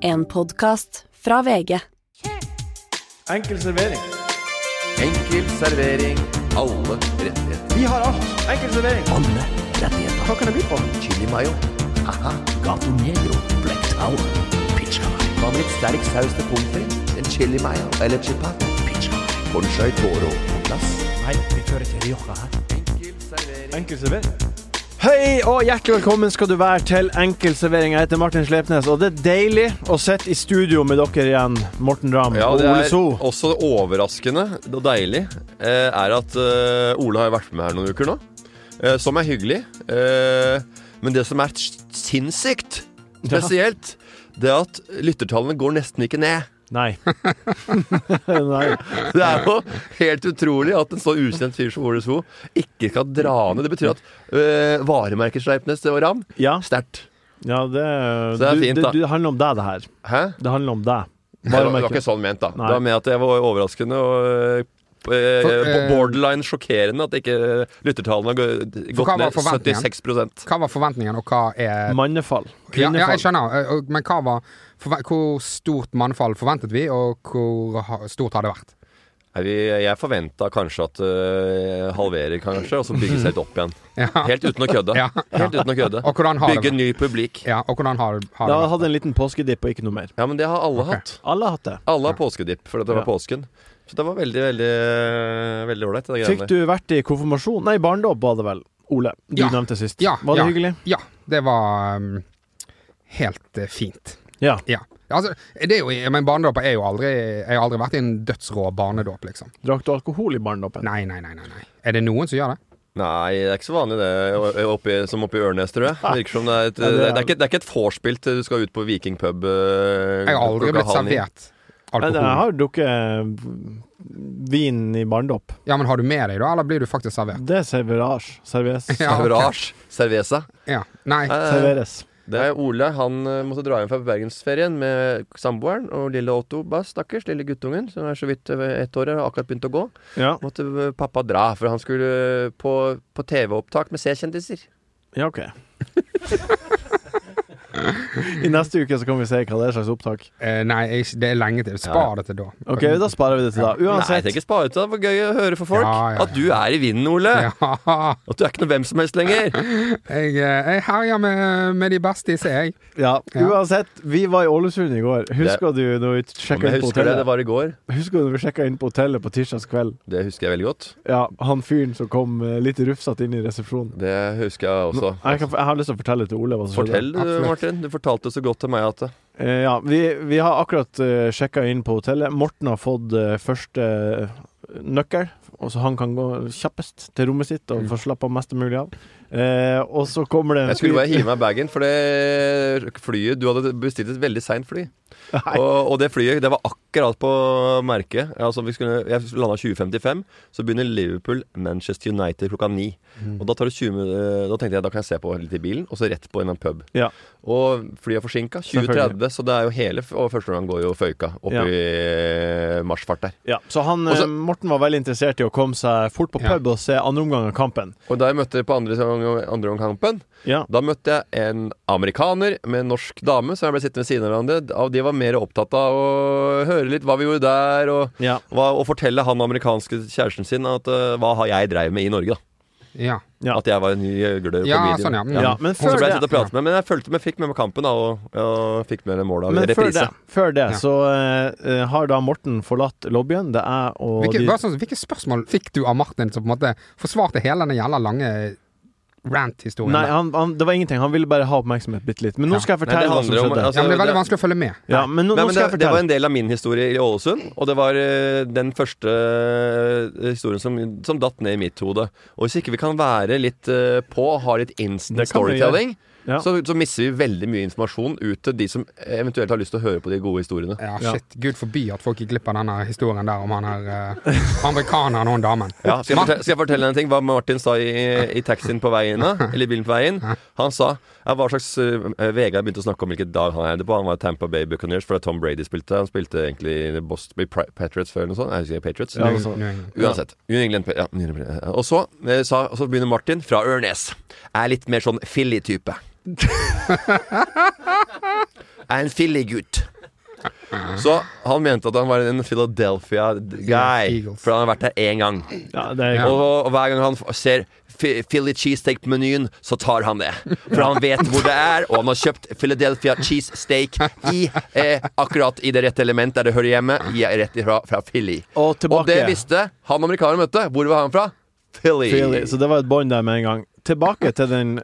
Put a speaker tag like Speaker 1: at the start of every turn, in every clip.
Speaker 1: En podkast fra VG.
Speaker 2: Enkel servering.
Speaker 3: Enkel servering. Alle rettigheter.
Speaker 2: Vi har alt. Enkel servering.
Speaker 4: Alle rettigheter.
Speaker 2: Hva kan det by på?
Speaker 3: Chili mayo. Aha.
Speaker 4: Gato Negro, Black Tower, Pizza Hut,
Speaker 3: Hva med litt sterk saus til pommes frites? En chili mayo eller chipat?
Speaker 4: Pizza Hut.
Speaker 3: Cornchai toro på plass.
Speaker 4: Nei, vi kjører til Rioja her.
Speaker 3: Enkel servering.
Speaker 2: Enkel servering. Hei og hjertelig velkommen skal du være til Enkel servering. Jeg heter Martin Slepnes, og det er deilig å sitte i studio med dere igjen, Morten Ramm
Speaker 5: Ja,
Speaker 2: og
Speaker 5: det
Speaker 2: Ole
Speaker 5: er
Speaker 2: So.
Speaker 5: også overraskende og deilig eh, er at eh, Ole har jo vært med her noen uker nå, eh, som er hyggelig. Eh, men det som er s- sinnssykt spesielt, det er at lyttertallene går nesten ikke ned.
Speaker 2: Nei. Nei.
Speaker 5: Det er jo helt utrolig at en så ukjent fyr som Ole So ikke skal dra ned. Det betyr at eh, varemerket Sleipnes og Ram
Speaker 2: Ja,
Speaker 5: sterkt.
Speaker 2: ja det,
Speaker 5: Så det er fint,
Speaker 2: du,
Speaker 5: da.
Speaker 2: det, det handler om deg, det her.
Speaker 5: Hæ?
Speaker 2: Det handler om deg.
Speaker 5: Det var, det var ikke sånn ment, da.
Speaker 2: Nei.
Speaker 5: Det var med at jeg var overraskende og eh, på- eh,
Speaker 6: For, eh,
Speaker 5: på borderline sjokkerende at ikke eh, lyttertallene har gå-
Speaker 6: For hva
Speaker 5: gått
Speaker 6: var
Speaker 5: ned
Speaker 6: forventningen?
Speaker 5: 76
Speaker 6: Hva var forventningene, og hva er
Speaker 2: Mannefall.
Speaker 6: ja, ja, jeg
Speaker 2: Kvinnefall.
Speaker 6: skjønner, eh, og- men hva var forve- Hvor stort mannfall forventet vi, og hvor ha- stort har det vært?
Speaker 5: Nei, vi, Jeg forventa kanskje at eh, halverer, kanskje, og så bygge seg litt opp igjen.
Speaker 6: Ja.
Speaker 5: Helt uten å kødde.
Speaker 6: Ja.
Speaker 5: Helt uten å kødde.
Speaker 6: Og hvordan har det
Speaker 5: Bygge
Speaker 6: vært?
Speaker 5: ny publikk.
Speaker 6: Ja, og hvordan har, har
Speaker 2: Da
Speaker 6: det vært?
Speaker 2: hadde jeg en liten påskedipp og ikke noe mer.
Speaker 5: Ja, men det har alle
Speaker 6: Ok.
Speaker 5: hatt.
Speaker 2: Alle har hatt det.
Speaker 5: Alle har påskedipp, for det var
Speaker 2: Ja.
Speaker 5: påsken. Så det var veldig, veldig Veldig ålreit. det
Speaker 2: Fikk
Speaker 5: greiene der.
Speaker 2: du vært i konfirmasjon? Nei, barndom var det vel, Ole. Du
Speaker 6: Ja.
Speaker 2: nevnte sist.
Speaker 6: Ja,
Speaker 2: var det
Speaker 6: ja.
Speaker 2: hyggelig?
Speaker 6: Ja, det var um, helt eh, fint.
Speaker 2: Ja.
Speaker 6: Ja. Altså, det er jo, men barnedåper er jo aldri Jeg har aldri vært i en dødsrå barnedåp, liksom.
Speaker 2: Drakk du alkohol i barndommen?
Speaker 6: Nei, nei, nei, nei. nei. Er det noen som gjør det?
Speaker 5: Nei, det er ikke så vanlig det o- oppi, som oppi Ørnes, tror jeg. Det virker som det er
Speaker 2: Ja,
Speaker 5: et,
Speaker 2: det er-
Speaker 5: det er ikke, det er ikke et vorspiel til du skal ut på eh, vikingpub.
Speaker 6: Jeg har aldri blitt servert
Speaker 2: Nei, jeg
Speaker 6: alkohol.
Speaker 2: har drukket eh, vin i barndom.
Speaker 6: Ja, men har du med deg, da? Eller blir du faktisk servert?
Speaker 2: Det er serverage. Serves.
Speaker 6: Ja. ok.
Speaker 5: Serverage. Cerveza. Eh,
Speaker 6: Ja. Nei.
Speaker 2: Serveres.
Speaker 5: Det er Ole. Han eh, måtte dra hjem fra bergensferien med samboeren og lille Otto Bass, stakkars. Lille guttungen som er så vidt eh, ett år og har akkurat begynt å gå.
Speaker 2: Ja.
Speaker 5: Måtte eh, pappa dra, for han skulle eh, på, på TV-opptak med C-kjendiser.
Speaker 2: ja, ok. I neste uke så kan vi se hva det er slags opptak.
Speaker 6: Eh, nei, jeg, det er lenge til. Spar det til da.
Speaker 2: Ok, Da sparer vi det til da.
Speaker 5: Nei,
Speaker 2: Uansett.
Speaker 5: tenk ikke spare ut det. Det var gøy å høre for folk.
Speaker 6: Ja, ja, ja.
Speaker 5: At du er i vinden, Ole.
Speaker 6: Ja,
Speaker 5: At du er ikke noe hvem som helst lenger.
Speaker 6: jeg, eh, jeg herjer med, med de beste, ser jeg.
Speaker 2: Ja.
Speaker 6: Ja.
Speaker 2: Uansett, vi var i Ålesund i går. Husker du når vi
Speaker 5: Om
Speaker 2: sjekka
Speaker 5: jeg
Speaker 2: inn på
Speaker 5: husker det, det
Speaker 2: hotellet?
Speaker 5: var i går.
Speaker 2: Husker du når vi sjekket inn på hotellet på tirsdags kveld?
Speaker 5: Det husker jeg veldig godt.
Speaker 2: Ja, han fyren som kom eh, litt rufsete inn i resepsjonen.
Speaker 5: Det husker jeg også.
Speaker 2: Jeg, kan, jeg har lyst til å fortelle til Ole hva som skjedde.
Speaker 5: Fortell, du,
Speaker 6: Absolutt.
Speaker 5: Martin. Du fortalte så godt til meg at det-
Speaker 2: Eh, ja, vi, vi har akkurat uh, sjekka inn på hotellet. Morten har fått eh, første eh, nøkkel, og så han kan gå kjappest til rommet sitt og få slappe av mest mulig av. Eh, og så kommer det en
Speaker 5: Mm. Jeg skulle bare
Speaker 2: fyr-
Speaker 5: hive meg i bagen, for det flyet Du hadde bestilt et veldig seint fly.
Speaker 2: Nei.
Speaker 5: Og, og det flyet, det var akkurat på merket. Altså, vi skulle, jeg landa 20.55, så begynner Liverpool-Manchester United klokka ni. Og da, tar det 20, min- da tenkte jeg da kan jeg se på litt i bilen, og så rett på en eller annen pub.
Speaker 2: Ja.
Speaker 5: Og flyet er forsinka. 20.30, så det er jo hele f- Og første gang går jo føyka opp
Speaker 2: Ja.
Speaker 5: i marsjfart der.
Speaker 2: Ja, så han, eh,
Speaker 5: Og så-
Speaker 2: Morten var veldig interessert i å komme seg fort på
Speaker 6: Ja.
Speaker 2: pub og se andre omgang av kampen.
Speaker 5: Og da jeg møtte på andre, andre om kampen
Speaker 2: Ja.
Speaker 5: Da møtte jeg en amerikaner med en norsk dame som jeg ble sittende ved siden av hverandre. Av de var mer opptatt av å høre litt hva vi gjorde der, og,
Speaker 2: Ja.
Speaker 5: hva, og fortelle han amerikanske kjæresten sin at eh, hva har jeg drevet med i Norge, da.
Speaker 6: Ja.
Speaker 2: Ja.
Speaker 5: At jeg var en ny eh, gjøgler på
Speaker 6: Ja,
Speaker 5: medium.
Speaker 6: sånn, ja. Mm.
Speaker 2: Ja, men
Speaker 5: Så
Speaker 2: før
Speaker 5: ble jeg
Speaker 2: det
Speaker 5: sittende og prate med Men jeg følte meg fikk med meg kampen, da, og, og fikk med meg målet av
Speaker 2: men før det,
Speaker 5: reprise.
Speaker 2: før det
Speaker 6: Ja.
Speaker 2: så eh, eh, har da Morten forlatt lobbyen. Det er og
Speaker 6: Hvilke,
Speaker 2: de
Speaker 6: bare sånn, hvilke spørsmål fikk du av Martin som på en måte forsvarte hele den jævla lange rant-historien?
Speaker 2: Nei,
Speaker 6: der?
Speaker 2: han, han, det var ingenting. Han ville bare ha oppmerksomhet bitte litt. Men nå
Speaker 6: Ja.
Speaker 2: skal jeg
Speaker 5: Nei, det
Speaker 2: fortelle hva som
Speaker 5: handler om-
Speaker 2: skjedde.
Speaker 5: altså,
Speaker 6: ja, men det er veldig
Speaker 5: det-
Speaker 6: vanskelig å følge med.
Speaker 2: ja, men nå, nå
Speaker 5: Nei,
Speaker 2: skal
Speaker 5: men det,
Speaker 2: jeg
Speaker 5: det
Speaker 2: fortelle.
Speaker 5: var en del av min historie i Ålesund, og det var eh, den første eh, historien som, som datt ned i mitt hode. Og hvis ikke vi kan være litt eh, på og ha litt instant
Speaker 2: Det kan vi
Speaker 5: storytelling,
Speaker 2: Ja.
Speaker 5: så, så mister vi veldig mye informasjon ut til de som eventuelt har lyst til å høre på de gode historiene.
Speaker 6: Ja,
Speaker 2: Ja.
Speaker 6: shit. Gud forby at folk gikk glipp av denne historien der om han her eh, amerikaneren og hun damen.
Speaker 5: Ja, skal, jeg
Speaker 6: Martin-
Speaker 5: fortelle, skal jeg fortelle en ting? Hva Martin sa i, i taxien på vei inn? da, Eller i bilen på vei inn? Han sa ja, hva slags eh, Vegard begynte å snakke om hvilken dag han eide på. Han var i Tampa Bay Buccaneers fordi Tom Brady spilte. Han spilte egentlig i Boston i Pri- Patriots før eller noe sånt. Jeg husker ikke, Patriots.
Speaker 2: Ja,
Speaker 6: New-
Speaker 2: altså.
Speaker 6: New England.
Speaker 5: Uansett. New England, ja, New England. Og så, eh, sa, og så begynner Martin fra Ørnes. Er litt mer sånn Philly-type. er en fillegutt. Så han mente at han var en Philadelphia-guy,
Speaker 6: Eagles.
Speaker 5: for han har vært der én gang.
Speaker 2: Ja, det er
Speaker 5: Og, og hver gang han f- ser fi- Philly cheesesteak på menyen, så tar han det. For han vet hvor det er, og han har kjøpt Philadelphia cheesesteak i eh, akkurat i det rette element der det hører hjemme, i, rett ifra fra Philly.
Speaker 2: Og tilbake.
Speaker 5: Og det visste han amerikaneren møtte. Hvor var han fra? Philly.
Speaker 2: Philly. Så det var et bånd der med en gang. Tilbake til den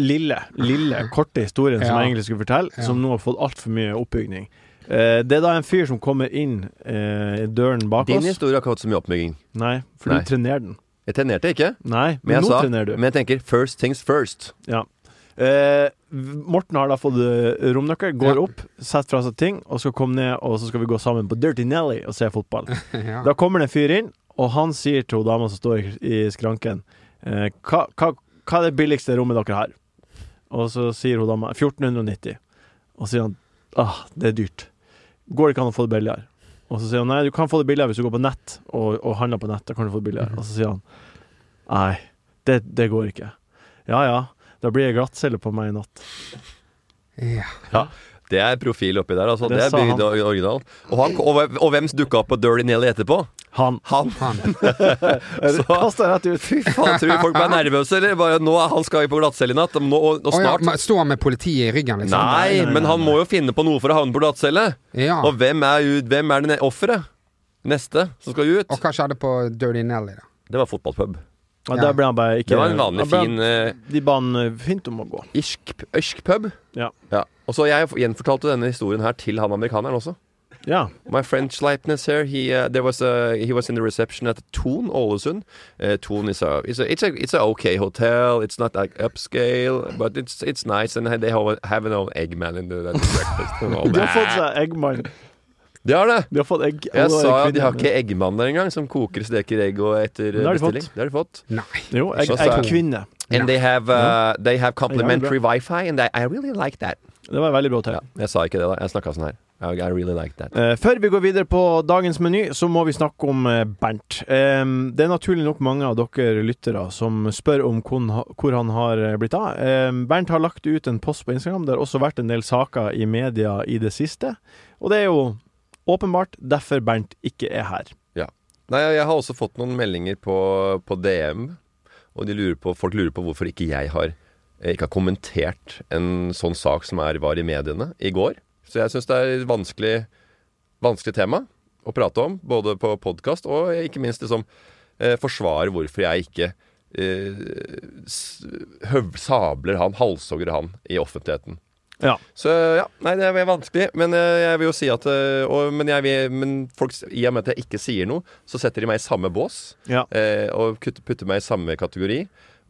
Speaker 2: lille, lille, korte historien som
Speaker 6: Ja.
Speaker 2: jeg egentlig skulle fortelle, som nå har fått altfor mye oppbygning. Eh, det er da en fyr som kommer inn eh, i døren bak
Speaker 5: Din
Speaker 2: oss.
Speaker 5: historie har ikke hatt så mye oppbygging.
Speaker 2: Nei, for
Speaker 5: Nei.
Speaker 2: du trenerer den.
Speaker 5: Jeg trenerte ikke,
Speaker 2: Nei,
Speaker 5: men
Speaker 2: men
Speaker 5: jeg,
Speaker 2: nå
Speaker 5: sa,
Speaker 2: trenerer du.
Speaker 5: men jeg tenker first things first.
Speaker 2: Ja. Eh, Morten har da fått eh, romnøkkel, går
Speaker 6: Ja.
Speaker 2: opp, setter fra seg ting og skal komme ned, og så skal vi gå sammen på Dirty Nelly og se fotball.
Speaker 6: Ja.
Speaker 2: Da kommer det en fyr inn, og han sier til hun dama som står i- i skranken eh, hva, hva, hva er det billigste rommet dere har? Og så sier hun dama 1490. Og så sier han ah, det er dyrt. Går det ikke an å få det billigere? Og så sier han nei, du kan få det billigere hvis du går på nett og, og handler på nett. Da kan du få det
Speaker 5: Mhm.
Speaker 2: billigere. Og så sier han nei, det, det går ikke. Ja ja, da blir det glattcelle på meg i natt.
Speaker 6: Ja.
Speaker 5: Det er profil oppi der, altså.
Speaker 2: Det
Speaker 5: Det, er
Speaker 2: sa
Speaker 5: bygd
Speaker 2: han.
Speaker 5: or- original. Og, han, og, og hvem dukka opp på Dirty Nelly etterpå?
Speaker 2: Han
Speaker 5: Han.
Speaker 6: Han.
Speaker 5: Så
Speaker 2: kasta rett ut.
Speaker 5: Fy faen, tror du folk ble nervøse, eller? Bare, nå er han skal jo på glattcelle i natt, og, nå, og, og
Speaker 6: Å ja,
Speaker 5: snart
Speaker 6: men Står han med politiet i ryggen, liksom?
Speaker 5: Nei, Ah. men han må jo finne på noe for å havne på glattcelle.
Speaker 6: Ja.
Speaker 5: Og hvem er, ut- hvem er det ne- offeret? Neste som skal ut?
Speaker 6: Og hva skjedde på Dirty Nelly, da?
Speaker 5: Det var fotballpub.
Speaker 2: Ja, der ble han bare ikke
Speaker 5: Det var en vanlig
Speaker 2: han ble-
Speaker 5: fin eh,
Speaker 2: De ba han eh, fint om å gå.
Speaker 5: irsk, irsk pub.
Speaker 2: Ja.
Speaker 5: Og så jeg gjenfortalte denne historien her til han amerikaneren også.
Speaker 2: Ja.
Speaker 5: My French lightness here. He uh, there was a he was in the reception at Thun Ålesund. Uh, Thun is a it's a it's a it's a okay hotel. It's not like upscale, but it's it's nice. And they have, have an old Eggman in the, at the breakfast. and all
Speaker 2: De har fått
Speaker 5: that.
Speaker 2: seg eggmann.
Speaker 5: Det har det.
Speaker 2: De har fått egg.
Speaker 5: Jeg
Speaker 2: alle
Speaker 5: sa jo at de har
Speaker 2: kvinner.
Speaker 5: ikke Eggmann der engang, som koker, steker egg og etter
Speaker 2: Det har de
Speaker 5: bestilling.
Speaker 2: fått.
Speaker 5: Det har de fått.
Speaker 6: Nei.
Speaker 2: Jo, egg,
Speaker 5: Så sa jeg-
Speaker 2: eggkvinne.
Speaker 5: And they have uh, they have complimentary
Speaker 2: Ja,
Speaker 5: wifi, and I, I really like that.
Speaker 2: Det var veldig bra til.
Speaker 5: Ja, jeg sa ikke det da. Jeg snakka sånn her. I, I really like that.
Speaker 2: Eh, før vi går videre på dagens meny, så må vi snakke om eh, Bernt. Eh, det er naturlig nok mange av dere lyttere som spør om hvor han, ha- hvor han har eh, blitt av. Eh, Bernt har lagt ut en post på Instagram. Det har også vært en del saker i media i det siste. Og det er jo åpenbart derfor Bernt ikke er her.
Speaker 5: Nei, jeg har også fått noen meldinger på, på DM, og de lurer på, folk lurer på hvorfor ikke jeg har, eh, ikke har kommentert en sånn sak som er, var i mediene i går. Så jeg syns det er et vanskelig, vanskelig tema å prate om, både på podkast og ikke minst liksom eh, forsvare hvorfor jeg ikke eh, s- høv, sabler han, halshogger han i offentligheten.
Speaker 2: Ja.
Speaker 5: Så ja, nei, det er vanskelig. Men eh, jeg vil jo si at eh, og, men, jeg vil, men folk, i og med at jeg ikke sier noe, så setter de meg i samme bås.
Speaker 2: Ja.
Speaker 5: eh, og kutter, putter meg i samme kategori.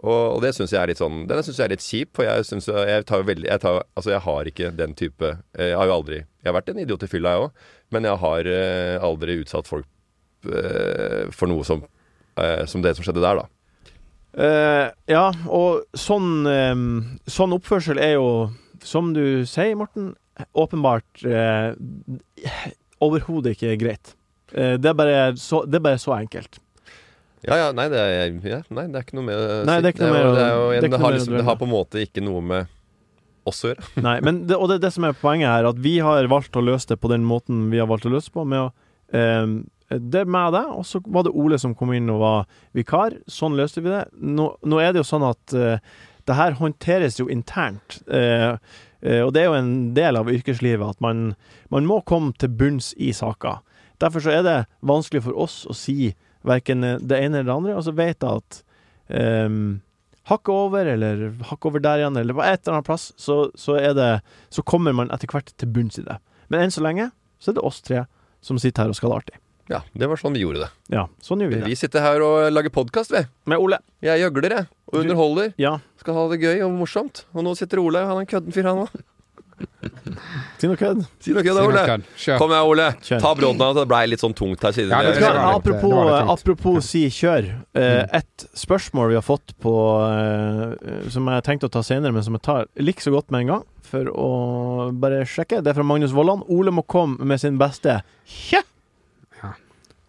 Speaker 5: Og, og det syns jeg er litt sånn Det synes jeg er litt kjipt, for jeg syns jeg, jeg tar jo veldig jeg tar, Altså, jeg har ikke den type eh, Jeg har jo aldri Jeg har vært en idiot i fylla, jeg òg, men jeg har eh, aldri utsatt folk eh, for noe som eh, Som det som skjedde der, da.
Speaker 2: Eh, ja, og sånn, eh, sånn oppførsel er jo, som du sier, Morten, åpenbart eh, overhodet ikke greit. Eh, det, er bare så, det er bare så enkelt.
Speaker 5: Ja, ja, nei, det er, ja, nei, det er ikke noe med å
Speaker 2: Nei,
Speaker 5: si.
Speaker 2: det er ikke noe
Speaker 5: jo-
Speaker 2: mer å-
Speaker 5: det, er jo,
Speaker 2: det er ikke
Speaker 5: det,
Speaker 2: noe
Speaker 5: har
Speaker 2: mer å
Speaker 5: liksom,
Speaker 2: dvele
Speaker 5: det har
Speaker 2: ved.
Speaker 5: på en måte ikke noe med oss å gjøre.
Speaker 2: Nei, men det, og det er det som er poenget her, at vi har valgt å løse det på den måten vi har valgt å løse det på, med å eh, Det er meg og deg, og så var det Ole som kom inn og var vikar. Sånn løste vi det. Nå, nå er det jo sånn at eh, det her håndteres jo internt. eh, eh, og det er jo en del av yrkeslivet at man, man må komme til bunns i saker. Derfor så er det vanskelig for oss å si verken det ene eller det andre, og så vet jeg at eh, hakket over, eller hakket over der igjen, eller på et eller annet plass, så, så, er det, så kommer man etter hvert til bunns i det. Men enn så lenge så er det oss tre som sitter her og skal ha det artig.
Speaker 5: Ja, det var sånn vi gjorde det.
Speaker 2: Ja, sånn gjør vi det.
Speaker 5: Vi sitter her og lager podkast, vi.
Speaker 2: Med Ole.
Speaker 5: Jeg gjøgler, jeg. Og
Speaker 2: Du-
Speaker 5: underholder.
Speaker 2: Ja.
Speaker 5: Skal ha det gøy og morsomt. Og nå sitter Ole, han er en kødden fyr, han òg.
Speaker 2: Si noe kødd.
Speaker 5: Si noe kødd,
Speaker 6: Si noe
Speaker 5: Ole.
Speaker 6: kødd. Kjør.
Speaker 5: Kom igjen, Ole.
Speaker 2: Kjør.
Speaker 5: Ta brodden av, det blei litt sånn tungt her siden
Speaker 6: Ja,
Speaker 5: vi-
Speaker 6: det skal være.
Speaker 2: Apropos,
Speaker 6: det var litt tungt.
Speaker 2: apropos si kjør. Eh, et spørsmål vi har fått på eh, Som jeg tenkte å ta senere, men som jeg tar like så godt med en gang. For å bare sjekke. Det er fra Magnus Vollan. Ole må komme med sin beste kje.
Speaker 6: Ja.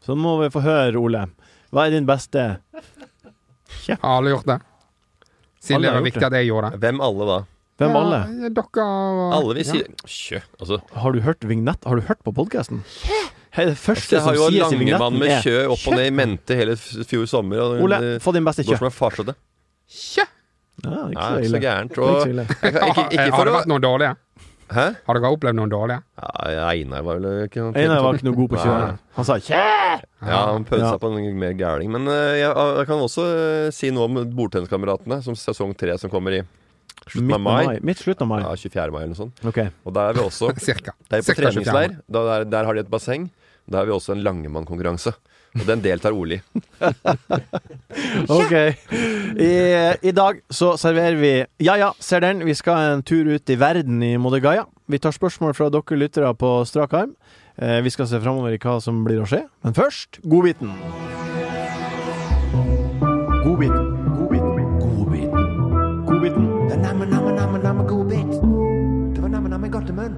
Speaker 2: Så nå må vi få høre, Ole. Hva er din beste
Speaker 6: Har alle gjort det? Siden
Speaker 2: Alle
Speaker 6: det
Speaker 2: har
Speaker 6: var
Speaker 2: gjort
Speaker 6: viktig at jeg gjorde det.
Speaker 5: Hvem alle, da?
Speaker 2: Hvem alle?
Speaker 6: Ja, dere og
Speaker 5: Alle vi sier Kjø, altså.
Speaker 2: Har du hørt vignett? Har du hørt på podkasten? liksom Det første
Speaker 5: Jeg
Speaker 2: som
Speaker 5: har jo
Speaker 2: sies i
Speaker 5: Langemann
Speaker 2: vignetten
Speaker 5: med
Speaker 2: er
Speaker 5: kjø opp og ned i mente hele f- fjor sommer. Og,
Speaker 2: Ole,
Speaker 5: det
Speaker 2: få din beste
Speaker 5: går
Speaker 2: kjø.
Speaker 5: som en farsete.
Speaker 6: Kjø!
Speaker 2: Ja, ikke
Speaker 5: Nei, det er ikke så
Speaker 2: ille.
Speaker 5: gærent.
Speaker 2: Det er ikke så
Speaker 5: Og,
Speaker 2: ille.
Speaker 5: jeg, kan- ikke, ikke
Speaker 6: Har
Speaker 5: for
Speaker 6: det
Speaker 5: å
Speaker 6: vært noen dårlige?
Speaker 5: Hæ?
Speaker 6: Har dere opplevd noen dårlige?
Speaker 5: Ja, Einar var vel ikke
Speaker 2: Einar var ikke noe god på
Speaker 5: Nei.
Speaker 2: kjøring. Han sa kjæ!
Speaker 5: Ja, han pødde
Speaker 2: Ja.
Speaker 5: seg på en mer gæling. Men eh, jeg, jeg kan også eh, si noe om Bordtenniskameratene, som sesong tre som kommer i slutten
Speaker 2: Midt
Speaker 5: av mai.
Speaker 2: Midt slutten av mai.
Speaker 5: Ja, 24. mai eller noe sånt.
Speaker 2: Ok.
Speaker 5: Og der er vi også
Speaker 6: Cirka.
Speaker 5: Det er på
Speaker 6: Cirka 24.
Speaker 5: treningsleir. Da, der, der har de et basseng. Der har vi også en langemannkonkurranse. Og den deltar Ole i.
Speaker 2: Ok. I, I dag så serverer vi Ja ja, ser den. Vi skal en tur ut i verden i Modigaya. Vi tar spørsmål fra dere lyttere på strak arm. Eh, vi skal se framover i hva som blir å skje. Men først godbiten. Godbiten. Godbiten.
Speaker 4: Godbiten.
Speaker 2: Godbiten.
Speaker 3: Det er namme, namme, namme, namme god bit. Det var namme, namme godtemunn.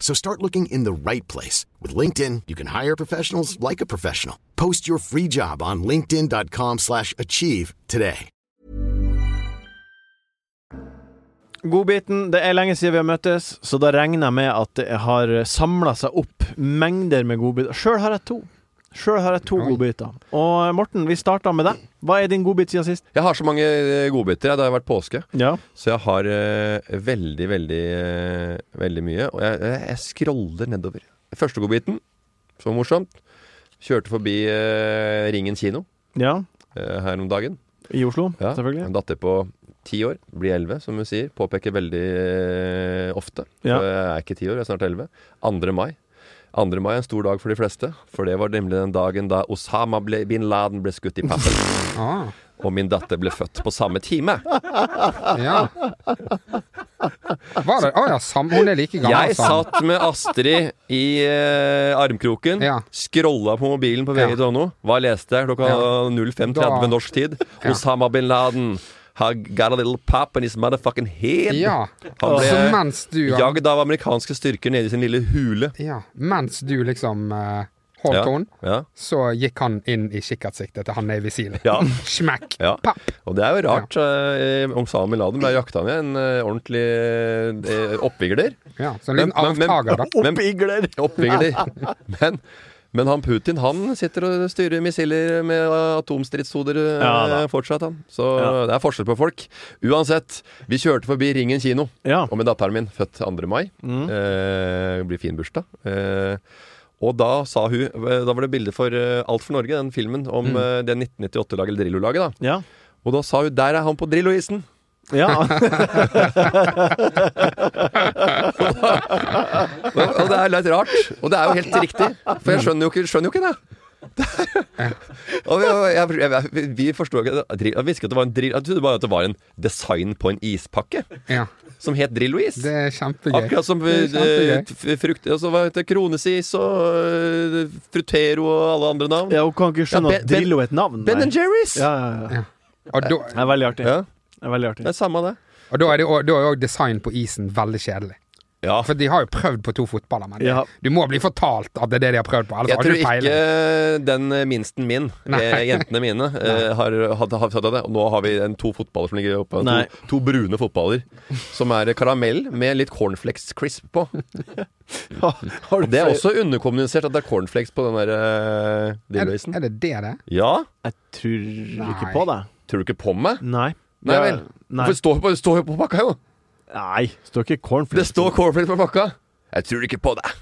Speaker 4: So start looking in the right place. With LinkedIn, you can hire professionals like a professional. Post your free job on linkedin.com/achieve slash achieve today.
Speaker 2: Godbiten, det er lenge siden vi har møttes, så da regner jeg med at det har samla seg opp mengder med godbiter. Sjøl har jeg to. Sjøl har jeg to
Speaker 6: Oi.
Speaker 2: godbiter. Og eh, Morten, vi starta med deg. Hva er din godbit siden sist?
Speaker 5: Jeg har så mange eh, godbiter. jeg. Det har vært påske.
Speaker 2: Ja.
Speaker 5: Så jeg har eh, veldig, veldig eh, Veldig mye. Og jeg, jeg, jeg scroller nedover. Første godbiten, som var morsomt, kjørte forbi eh, Ringen kino
Speaker 2: ja.
Speaker 5: eh, her om dagen.
Speaker 2: I Oslo,
Speaker 5: Ja,
Speaker 2: selvfølgelig.
Speaker 5: En datter på ti år, blir elleve, som hun sier. Påpeker veldig eh, ofte.
Speaker 2: Ja.
Speaker 5: Så jeg er ikke ti år, jeg er snart elleve. 2. mai. 2. mai er en stor dag for de fleste, for det var nemlig den dagen da Osama ble, bin Laden ble skutt i pappen,
Speaker 6: Ah,
Speaker 5: og min datter ble født på samme time.
Speaker 6: ja. Var det Å ja, sam, hun er like gammel
Speaker 5: Jeg
Speaker 6: som
Speaker 5: satt med Astrid i eh, armkroken,
Speaker 6: Ja.
Speaker 5: scrolla på mobilen på
Speaker 6: Ja.
Speaker 5: vg.no. Hva leste jeg klokka
Speaker 6: Ja.
Speaker 5: 05.30
Speaker 6: Da-
Speaker 5: norsk tid?
Speaker 6: Ja.
Speaker 5: Osama bin Laden har got a little pop in his motherfucking head.
Speaker 6: Ja.
Speaker 5: Han ble
Speaker 6: Så mens du
Speaker 5: jagd av amerikanske styrker nede i sin lille hule.
Speaker 6: Ja, mens du liksom eh, holdt
Speaker 5: Ja,
Speaker 6: henne,
Speaker 5: ja,
Speaker 6: så gikk han inn i kikkertsiktet til han nede i visilen.
Speaker 5: ja.
Speaker 6: Smekk!
Speaker 5: Ja.
Speaker 6: Papp!
Speaker 5: Og det er jo rart. eh, Om Osama bin Laden ble jakta ned. En eh, ordentlig eh, oppvigler.
Speaker 6: Ja, så en liten
Speaker 5: Men- men- men-
Speaker 6: avtager, da.
Speaker 5: Men-
Speaker 2: Oppigler!
Speaker 5: Oppvigler. Men, men han Putin han sitter og styrer missiler med atomstridshoder eh,
Speaker 2: Ja da.
Speaker 5: fortsatt, han. Så
Speaker 2: Ja.
Speaker 5: det er forskjell på folk. Uansett, vi kjørte forbi Ringen kino.
Speaker 2: Ja.
Speaker 5: Og med datteren min, født 2. mai. Eh, det blir fin bursdag. Eh, og da sa hun Da var det bilde for eh, Alt for Norge, den filmen om eh, det 1998-laget, eller Drillo-laget, da.
Speaker 2: Ja.
Speaker 5: Og da sa hun 'Der er han på Drillo-isen'.
Speaker 2: ja.
Speaker 5: Og, og det er litt rart. Og det er jo helt riktig. For jeg skjønner jo ikke, skjønner jo ikke det. Det er- Og jeg, jeg, jeg, vi- vi forstår ikke det. Drill- Jeg visste ikke at det var en drill Jeg trodde bare at det var en design på en ispakke
Speaker 6: Ja,
Speaker 5: som het Drillo-is.
Speaker 6: det er kjempegøy.
Speaker 5: Akkurat som
Speaker 6: Det er
Speaker 5: eh,
Speaker 6: kjempegøy.
Speaker 5: f- frukt Og så var det Kronesis og eh, Frutero og alle andre navn.
Speaker 2: ja. Hun kan ikke skjønne
Speaker 5: Ja, Ben-
Speaker 2: at Drillo er et navn.
Speaker 5: Ben
Speaker 2: nei.
Speaker 5: Jerry's!
Speaker 2: Ja, ja, ja.
Speaker 6: Og da,
Speaker 2: Det er veldig artig.
Speaker 5: Ja,
Speaker 2: Det er veldig
Speaker 5: det
Speaker 2: artig.
Speaker 5: er samme det.
Speaker 6: og da er det jo- da er jo design på isen veldig kjedelig.
Speaker 5: Ja.
Speaker 6: For de har jo prøvd på to fotballer, men det-
Speaker 2: Ja.
Speaker 6: du må bli fortalt at det er det de har prøvd på. Ellers
Speaker 5: Jeg
Speaker 6: har
Speaker 5: tror
Speaker 6: du peiling.
Speaker 5: ikke den minsten min,
Speaker 6: Nei.
Speaker 5: eh, jentene mine, eh, har hatt hatt- hatt det. Og nå har vi en, to fotballer som ligger oppe.
Speaker 2: Nei.
Speaker 5: To, to brune fotballer. Som er karamell med litt cornflakes crisp på.
Speaker 2: Har du
Speaker 5: Det er
Speaker 2: flere-
Speaker 5: også underkommunisert at det er cornflakes på den der uh,
Speaker 6: Er, det-
Speaker 5: dildoisen.
Speaker 6: er det det det?
Speaker 5: Ja?
Speaker 2: Jeg tror ikke
Speaker 6: Nei.
Speaker 2: på deg.
Speaker 5: Tror du ikke på meg?
Speaker 2: Nei.
Speaker 5: Nei vel.
Speaker 2: Nei.
Speaker 5: For det står, på- det står jo på pakka, jo!
Speaker 2: Nei. Står ikke
Speaker 5: Det
Speaker 2: cornflakes
Speaker 5: står cornflakes på pakka! Jeg tror ikke på deg.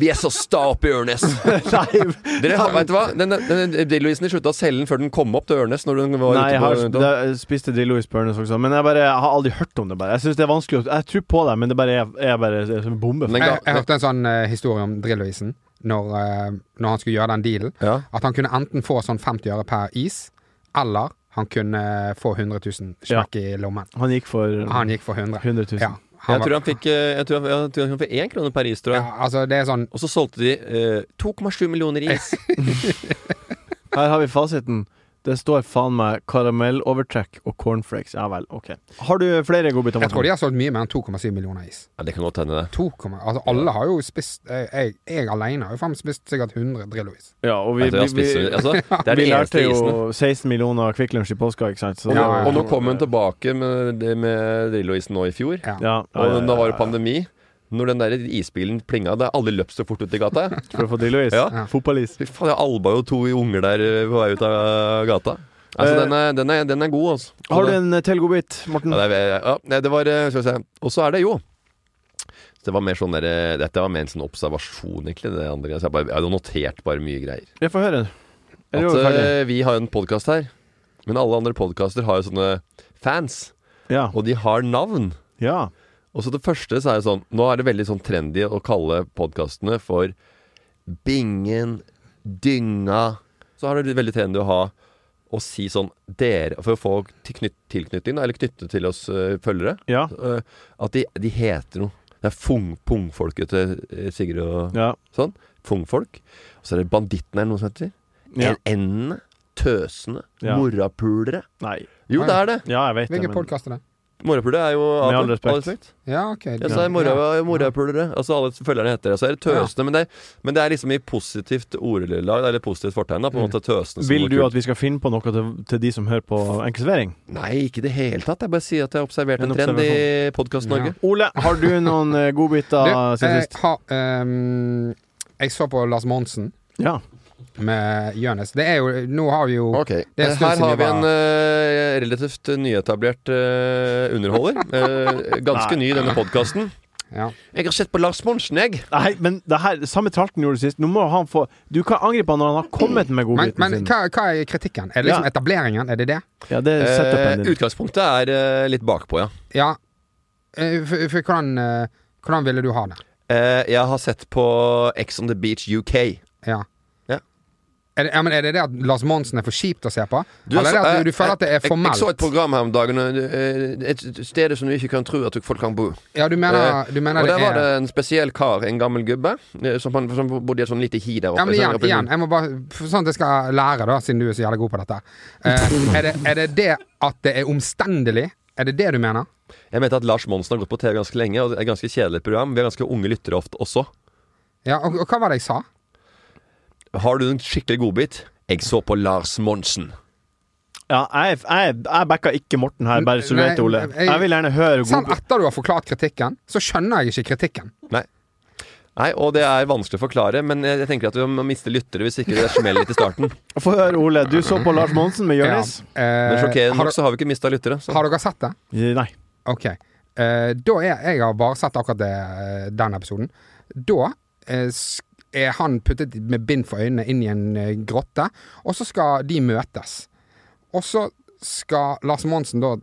Speaker 5: Vi er så sta oppe i Ørnes.
Speaker 2: Nei,
Speaker 5: Dere, har- vet du hva? Den, den, den Drillo-isen de slutta å selge den før den kom opp til Ørnes. Når den var
Speaker 2: Nei, jeg
Speaker 5: ute
Speaker 2: har,
Speaker 5: på,
Speaker 2: det, jeg spiste Drillo i Spurnes også, men jeg, bare, jeg har aldri hørt om det. bare Jeg synes det er vanskelig å- Jeg tror på det, men det bare er, er bare det er som en bombe.
Speaker 5: Den
Speaker 6: Jeg,
Speaker 5: ga-
Speaker 6: jeg hørte en sånn eh, historie om Drillo-isen. Når, eh, når han skulle gjøre den dealen.
Speaker 5: Ja.
Speaker 6: At han kunne enten få sånn 50 øre per is, eller han kunne få 100 000 smekk i lommen.
Speaker 2: Han gikk for
Speaker 6: Han gikk for 100.
Speaker 2: 100 000.
Speaker 6: Ja,
Speaker 5: Jeg
Speaker 6: var-
Speaker 5: tror han fikk eh, Jeg tror han, jeg tror han fikk én krone per is, tror
Speaker 6: ja,
Speaker 5: jeg.
Speaker 6: altså, det er sånn
Speaker 5: Og så solgte de eh, 2,7 millioner is.
Speaker 2: Her har vi fasiten. Det står faen meg karamellovertrekk og cornflakes. Ja vel, ok. Har du flere godbiter?
Speaker 6: Jeg tror de
Speaker 2: Morten?
Speaker 6: har solgt mye mer enn 2,7 millioner is.
Speaker 5: Ja, det kan godt hende, det.
Speaker 6: 2, altså, alle har jo spist Jeg, jeg, jeg alene har jo faen meg spist sikkert 100 Drillo-is.
Speaker 2: Ja, og vi,
Speaker 5: Jeg tror
Speaker 2: vi,
Speaker 5: han
Speaker 2: vi,
Speaker 5: spiser- altså, det er
Speaker 2: vi
Speaker 5: den
Speaker 2: lærte
Speaker 5: eneste isen.
Speaker 2: jo 16 millioner Kvikk Lunsj i påska, ikke sant? Så
Speaker 5: Og,
Speaker 2: det
Speaker 6: Ja,
Speaker 2: var-
Speaker 5: og nå kom hun tilbake med, det- med Drillo-isen nå i fjor.
Speaker 6: Ja.
Speaker 2: Ja, ja, ja,
Speaker 5: Og da var
Speaker 2: ja,
Speaker 5: det pandemi. Når den der isbilen plinga, da har alle løpt så fort ut i gata. jeg.
Speaker 2: For å få Drillo-is?
Speaker 5: Ja.
Speaker 2: Fotballis?
Speaker 5: Fy faen, jeg alba jo to unger der eh, på vei ut av gata. Altså,
Speaker 2: Eh,
Speaker 5: den, er, den, er, den er god, altså.
Speaker 2: Har du en eh, til godbit, Morten?
Speaker 5: Ja, det, er- ja, nei, det var eh, Skal vi se. Og så er det jo det var mer sånn der, eh, Dette var mer en sånn observasjon, egentlig. Det andre. Så jeg, bare, jeg hadde notert bare mye greier.
Speaker 2: Jeg får høre. Er du
Speaker 5: At
Speaker 2: ferdig?
Speaker 5: eh, vi har jo en podkast her. Men alle andre podkaster har jo sånne fans.
Speaker 2: Ja.
Speaker 5: Og de har navn.
Speaker 2: ja.
Speaker 5: Og så det første så er det sånn Nå er det veldig sånn trendy å kalle podkastene for Bingen, Dynga Så har det blitt veldig trendy å ha å si sånn dere For å få til- knyt- tilknytning, da, eller knytte til oss eh, følgere.
Speaker 2: Ja.
Speaker 5: eh, at de, de heter noe. Det er fung, pungfolket til eh, Sigurd og
Speaker 2: Ja.
Speaker 5: sånn. Fungfolk. Og så er det Banditten er det noe som heter.
Speaker 2: ja.
Speaker 5: Endene. Tøsene.
Speaker 2: Ja.
Speaker 5: Morapulere.
Speaker 2: Nei.
Speaker 5: Jo, det er det.
Speaker 2: Ja, jeg vet det,
Speaker 6: Hvilken
Speaker 2: men
Speaker 6: podkast er det?
Speaker 5: Morapulere er jo
Speaker 2: Med all
Speaker 5: ape.
Speaker 2: respekt.
Speaker 6: Ja, ok.
Speaker 5: Ja, så er mora- morapulere. Altså alle følgerne heter det. Så er det tøsene. Men, det, er- men det er liksom i positivt ordelag, eller positivt fortegn. da, På en måte tøsene som
Speaker 2: Vil
Speaker 5: noe
Speaker 2: du
Speaker 5: kult.
Speaker 2: at vi skal finne på noe til, til de som hører på Enkelservering?
Speaker 5: Nei, ikke i det hele tatt. Jeg bare sier at jeg har observert en,
Speaker 2: En
Speaker 5: trend i Podkast Norge.
Speaker 2: Ole, har du noen eh, godbiter siden
Speaker 6: jeg,
Speaker 2: sist?
Speaker 6: har, eh, ehm, jeg så på Lars Monsen
Speaker 2: Ja.
Speaker 6: med Jonis. Det er jo Nå har vi jo Det er en
Speaker 5: Eh,
Speaker 6: stund
Speaker 5: Her
Speaker 6: siden
Speaker 5: har
Speaker 6: vi
Speaker 5: vi
Speaker 6: var-
Speaker 5: en eh, relativt nyetablert eh, underholder. Eh, ganske ny i denne podkasten.
Speaker 6: ja.
Speaker 5: Jeg har sett på Lars Monsen, jeg.
Speaker 2: Nei, men det her, samme tralten gjorde du sist. Nå må han få Du kan angripe han når han har kommet med
Speaker 6: Men,
Speaker 2: godbiten
Speaker 6: men
Speaker 2: sin.
Speaker 6: hva, hva er kritikken? Er det liksom
Speaker 2: Ja.
Speaker 6: etableringen? Er det det?
Speaker 2: Ja, det er
Speaker 5: Eh,
Speaker 2: setupen din.
Speaker 5: utgangspunktet er eh, litt bakpå, ja.
Speaker 6: Ja. Eh, For, for hvordan, eh, hvordan ville du ha det?
Speaker 5: Eh, jeg har sett på X on the Beach UK.
Speaker 6: Ja.
Speaker 5: Ja.
Speaker 6: Er det, ja, men er det det at Lars Monsen er for kjipt å se på?
Speaker 5: Du,
Speaker 6: Eller er det
Speaker 5: altså,
Speaker 6: at du, du
Speaker 5: jeg-
Speaker 6: føler at det er
Speaker 5: jeg- Jeg så et
Speaker 6: formelt?
Speaker 5: program her om dagen, og, eh, et sted som du ikke kan tro at folk kan bo. Eh,
Speaker 6: Ja, du mener, du mener
Speaker 5: og der
Speaker 6: det
Speaker 5: var
Speaker 6: er
Speaker 5: det en spesiell kar, en gammel gubbe, eh, som, han- som bodde i et sånn lite hi der oppe.
Speaker 6: ja, men
Speaker 5: Så
Speaker 6: igjen,
Speaker 5: oppe i-
Speaker 6: igjen, jeg må bare, for sånn at jeg skal lære, da, siden du er så jævlig god på dette. Eh, er, det, er det det at det er omstendelig? Er det det du mener?
Speaker 5: Jeg mente at Lars Monsen har gått på TV ganske lenge, og det er et ganske kjedelig program. Vi har ganske unge lyttere ofte også.
Speaker 6: Ja, og, og hva var det jeg sa?
Speaker 5: Har du en skikkelig godbit? Jeg så på Lars Monsen.
Speaker 2: Ja, jeg, jeg, jeg backa ikke Morten her, bare så du
Speaker 6: Nei,
Speaker 2: vet det, Ole.
Speaker 6: jeg-
Speaker 2: Jeg vil gjerne høre
Speaker 6: Selv
Speaker 2: godbit.
Speaker 6: etter du har forklart kritikken, så skjønner jeg ikke kritikken.
Speaker 5: Nei, og det er vanskelig å forklare, men jeg jeg tenker at vi må miste lyttere hvis ikke det smeller litt i starten.
Speaker 2: Få høre, Ole. Du så på Lars Monsen med Jonis?
Speaker 6: Ja. Eh,
Speaker 5: Men sjokkerende
Speaker 6: har,
Speaker 5: nok
Speaker 6: dere-
Speaker 5: så har vi ikke mista lyttere. Så.
Speaker 6: har dere sett det?
Speaker 2: Nei.
Speaker 6: Ok. Eh, da er Jeg har bare sett akkurat det, eh, den episoden. Da eh, sk- er han puttet med bind for øynene inn i en eh, grotte, og så skal de møtes. Og så skal Lars Monsen da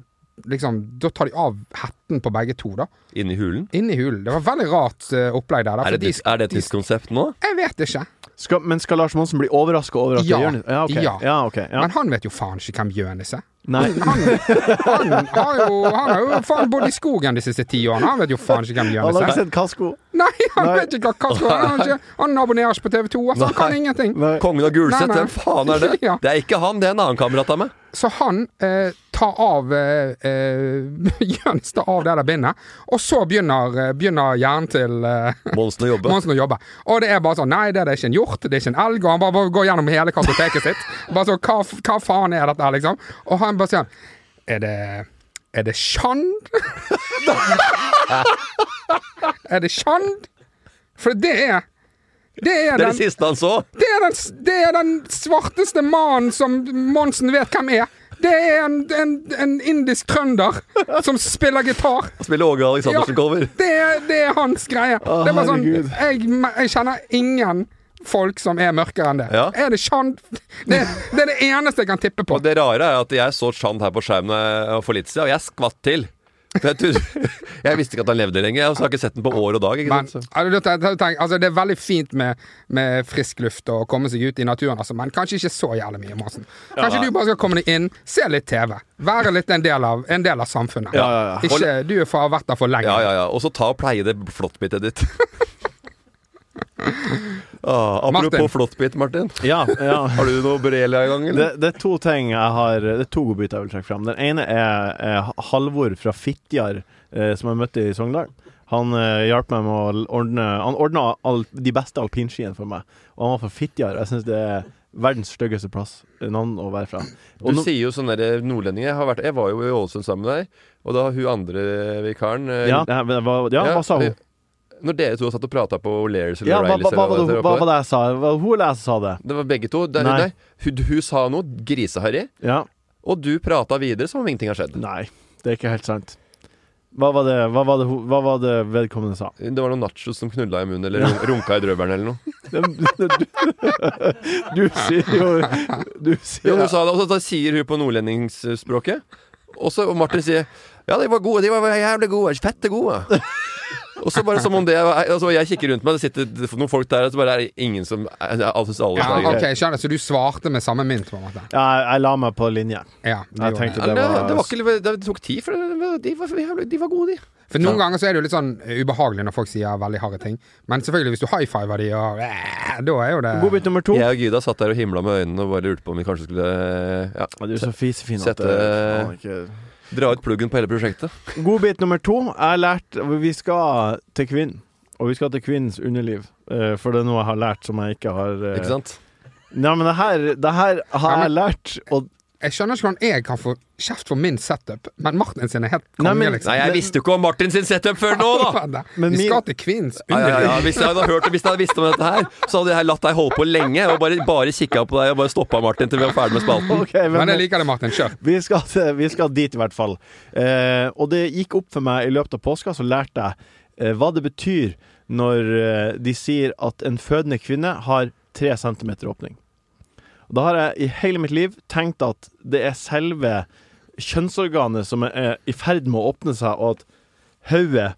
Speaker 6: liksom Da tar de av hetten på begge to, da.
Speaker 5: Inni hulen.
Speaker 6: Inni hulen. Det var veldig rart eh, opplegg der. da,
Speaker 5: Er det,
Speaker 6: for de
Speaker 5: et-
Speaker 6: sk-
Speaker 5: er det et
Speaker 6: de
Speaker 5: nytt konsept nå?
Speaker 6: sk- Jeg vet ikke.
Speaker 2: Skal, men skal Lars Monsen bli overraska over at
Speaker 6: Ja.
Speaker 2: det er Jonis? Ja, ok.
Speaker 6: Ja.
Speaker 2: Ja, ok. Ja.
Speaker 6: Men han vet jo faen ikke hvem Jonis er.
Speaker 2: Nei.
Speaker 6: Han, han, har jo, han har jo faen bodd i skogen de siste ti årene. Han vet jo faen ikke hvem
Speaker 2: Han
Speaker 6: Jonis
Speaker 2: har
Speaker 6: er.
Speaker 2: ikke sett Kasko.
Speaker 6: Nei, han
Speaker 2: Nei.
Speaker 6: vet ikke hva Castro er. Han, er ikke- han abonnerer ikke på TV 2. Altså, han kan
Speaker 5: Nei.
Speaker 6: ingenting.
Speaker 2: Nei.
Speaker 5: Kongen av Gulset,
Speaker 6: Nei, nei.
Speaker 5: hvem faen er det?
Speaker 6: Ja.
Speaker 5: Det er ikke han, det er en annen kamerat av meg.
Speaker 6: Så han eh, tar av eh, eh, Jens tar av det der bindet, og så begynner, eh, begynner hjernen til eh,
Speaker 5: Monsen å jobbe.
Speaker 6: Monsen å jobbe. Og det er bare sånn Nei, det er det ikke en hjort, det er ikke en elg. Og han bare, bare går gjennom hele kartoteket sitt. Bare sånn hva, f- hva faen er dette her, liksom? Og han bare sier Er det Er det Shand? er det Shand? For det er Det
Speaker 5: Det
Speaker 6: er
Speaker 5: er
Speaker 6: den
Speaker 5: det siste han så.
Speaker 6: Det er den, det er den svarteste mannen som Monsen vet hvem er. Det er en, en, en indisk trønder som spiller gitar.
Speaker 5: Spiller Åge Aleksandersen-cover.
Speaker 6: Det er, det er hans greie.
Speaker 2: Å,
Speaker 6: det er bare sånn,
Speaker 2: herregud.
Speaker 6: jeg, jeg kjenner ingen folk som er mørkere enn det.
Speaker 5: Ja.
Speaker 6: Er det Chan det, det er det eneste jeg kan tippe på.
Speaker 5: Og det rare er at jeg så Chand her på skjermen eh, for litt siden, og jeg skvatt til. For Jeg, trodde, jeg visste ikke at han levde lenger, og så har jeg ikke sett den på år og dag. Ikke
Speaker 6: Men,
Speaker 5: sant? Så-
Speaker 6: altså, det- det- tenk, altså, det er veldig fint med, med frisk luft og å komme seg ut i naturen, altså, men kanskje ikke så jævlig mye. Monsen. Kanskje du bare skal komme deg inn, se litt TV, være litt en del av, en del av samfunnet.
Speaker 2: Ja, ja, ja.
Speaker 6: Ikke, du er for, har vært der for lenge.
Speaker 5: Ja, ja, ja. Og så ta og pleie det flåttbitet ditt. ah, apropos
Speaker 6: Martin.
Speaker 5: flåttbit, Martin.
Speaker 2: Ja, ja.
Speaker 5: Har du noe borrelia i gang, eller?
Speaker 2: Det, det er to ting jeg har Det er to godbiter jeg vil trekke fram. Den ene er, er Halvor fra Fitjar, eh, som jeg møtte i Sogndal. Han eh, hjalp meg med å l- ordne Han ordna al, de beste alpinskiene for meg. Og han var fra Fitjar. Jeg syns det er verdens styggeste plass eh, navn å være fra.
Speaker 5: Du
Speaker 2: Og nå-
Speaker 5: sier jo sånne der eh, nordlendinger. Jeg, har vært, jeg var jo i Ålesund sammen med deg, og da hun andre vikaren eh,
Speaker 2: ja, ja, men hva, ja, hva sa hun?
Speaker 5: Når dere to satt og prata på O'Learys eller
Speaker 2: Ja, hva, hva,
Speaker 5: O'Reillys
Speaker 2: hva,
Speaker 5: eller
Speaker 2: var det-
Speaker 5: dere
Speaker 2: hva
Speaker 5: var på
Speaker 2: var det jeg sa? Var det hun eller jeg som sa det?
Speaker 5: det var begge to. Det, er hun
Speaker 2: Nei.
Speaker 5: der. hun, hun sa noe griseharry,
Speaker 2: Ja.
Speaker 5: og du prata videre som om ingenting har skjedd.
Speaker 2: Nei, det er ikke helt sant. Hva var det, hva var det, hun- hva var det vedkommende sa?
Speaker 5: Det var noen nachos som knulla i munnen, eller run- runka i drøvelen, eller noe.
Speaker 2: Du, du sier jo Du sier
Speaker 5: Jo, hun sa det, og så da sier hun på nordlendingsspråket. Og så og Martin sier Ja, de var gode, de var jævlig gode, fette gode. Og så bare som om det var- altså, Jeg kikker rundt meg, det sitter noen folk der, og så bare er det ingen som Jeg syns alle
Speaker 6: Ja,
Speaker 5: snakker.
Speaker 6: ok, skjønner, Så du svarte med samme mynt, på en måte?
Speaker 2: Ja, jeg- jeg la meg på linje.
Speaker 6: Ja, det
Speaker 2: Jeg
Speaker 6: gjorde
Speaker 2: tenkte
Speaker 6: jeg.
Speaker 5: Ja,
Speaker 2: det
Speaker 5: det,
Speaker 2: var,
Speaker 5: det, var ikke, det tok tid, for det- de var, jævlig- de var gode, de.
Speaker 6: For noen ganger så er det jo litt sånn ubehagelig når folk sier veldig harde ting. Men selvfølgelig, hvis du high fiver de og eh, Da er jo det
Speaker 2: Godbit nummer to.
Speaker 5: Jeg og Gyda satt der og himla med øynene og bare lurte på om vi kanskje skulle ja,
Speaker 2: Ja, Du er så fisefin at
Speaker 5: Sette-
Speaker 2: det-
Speaker 5: eh,
Speaker 2: faen ikke-
Speaker 5: dra ut pluggen på hele prosjektet.
Speaker 2: Godbit nummer to. Jeg har lært Vi skal til kvinnen. Og vi skal til kvinnens underliv. Eh, For det er noe jeg har lært som jeg ikke har eh,
Speaker 5: Ikke sant?
Speaker 2: Nei, men det her, det her har jeg lært, og
Speaker 6: Jeg skjønner ikke hvordan jeg kan få kjeft for min setup, men Martin sin er helt
Speaker 2: Nei, men-
Speaker 6: konge, liksom.
Speaker 5: Nei, jeg visste jo ikke om Martin sin setup før nå, da!
Speaker 2: Men
Speaker 6: Vi
Speaker 2: min-
Speaker 6: skal til Kvinns
Speaker 5: Ja, ja,
Speaker 6: underliv.
Speaker 5: ja. Hvis jeg hadde hørt hvis jeg hadde visst om dette her, så hadde jeg latt deg holde på lenge og bare, bare kikka på deg og bare stoppa Martin til vi var ferdig med spalten.
Speaker 2: OK, men,
Speaker 6: Men jeg liker det, Martin. Kjør.
Speaker 2: Vi skal, til- vi skal dit, i hvert fall. Eh, og det gikk opp for meg i løpet av påska, så lærte jeg eh, hva det betyr når eh, de sier at en fødende kvinne har tre centimeter åpning. Og da har jeg i hele mitt liv tenkt at det er selve kjønnsorganet som er i ferd med å åpne seg, og at hodet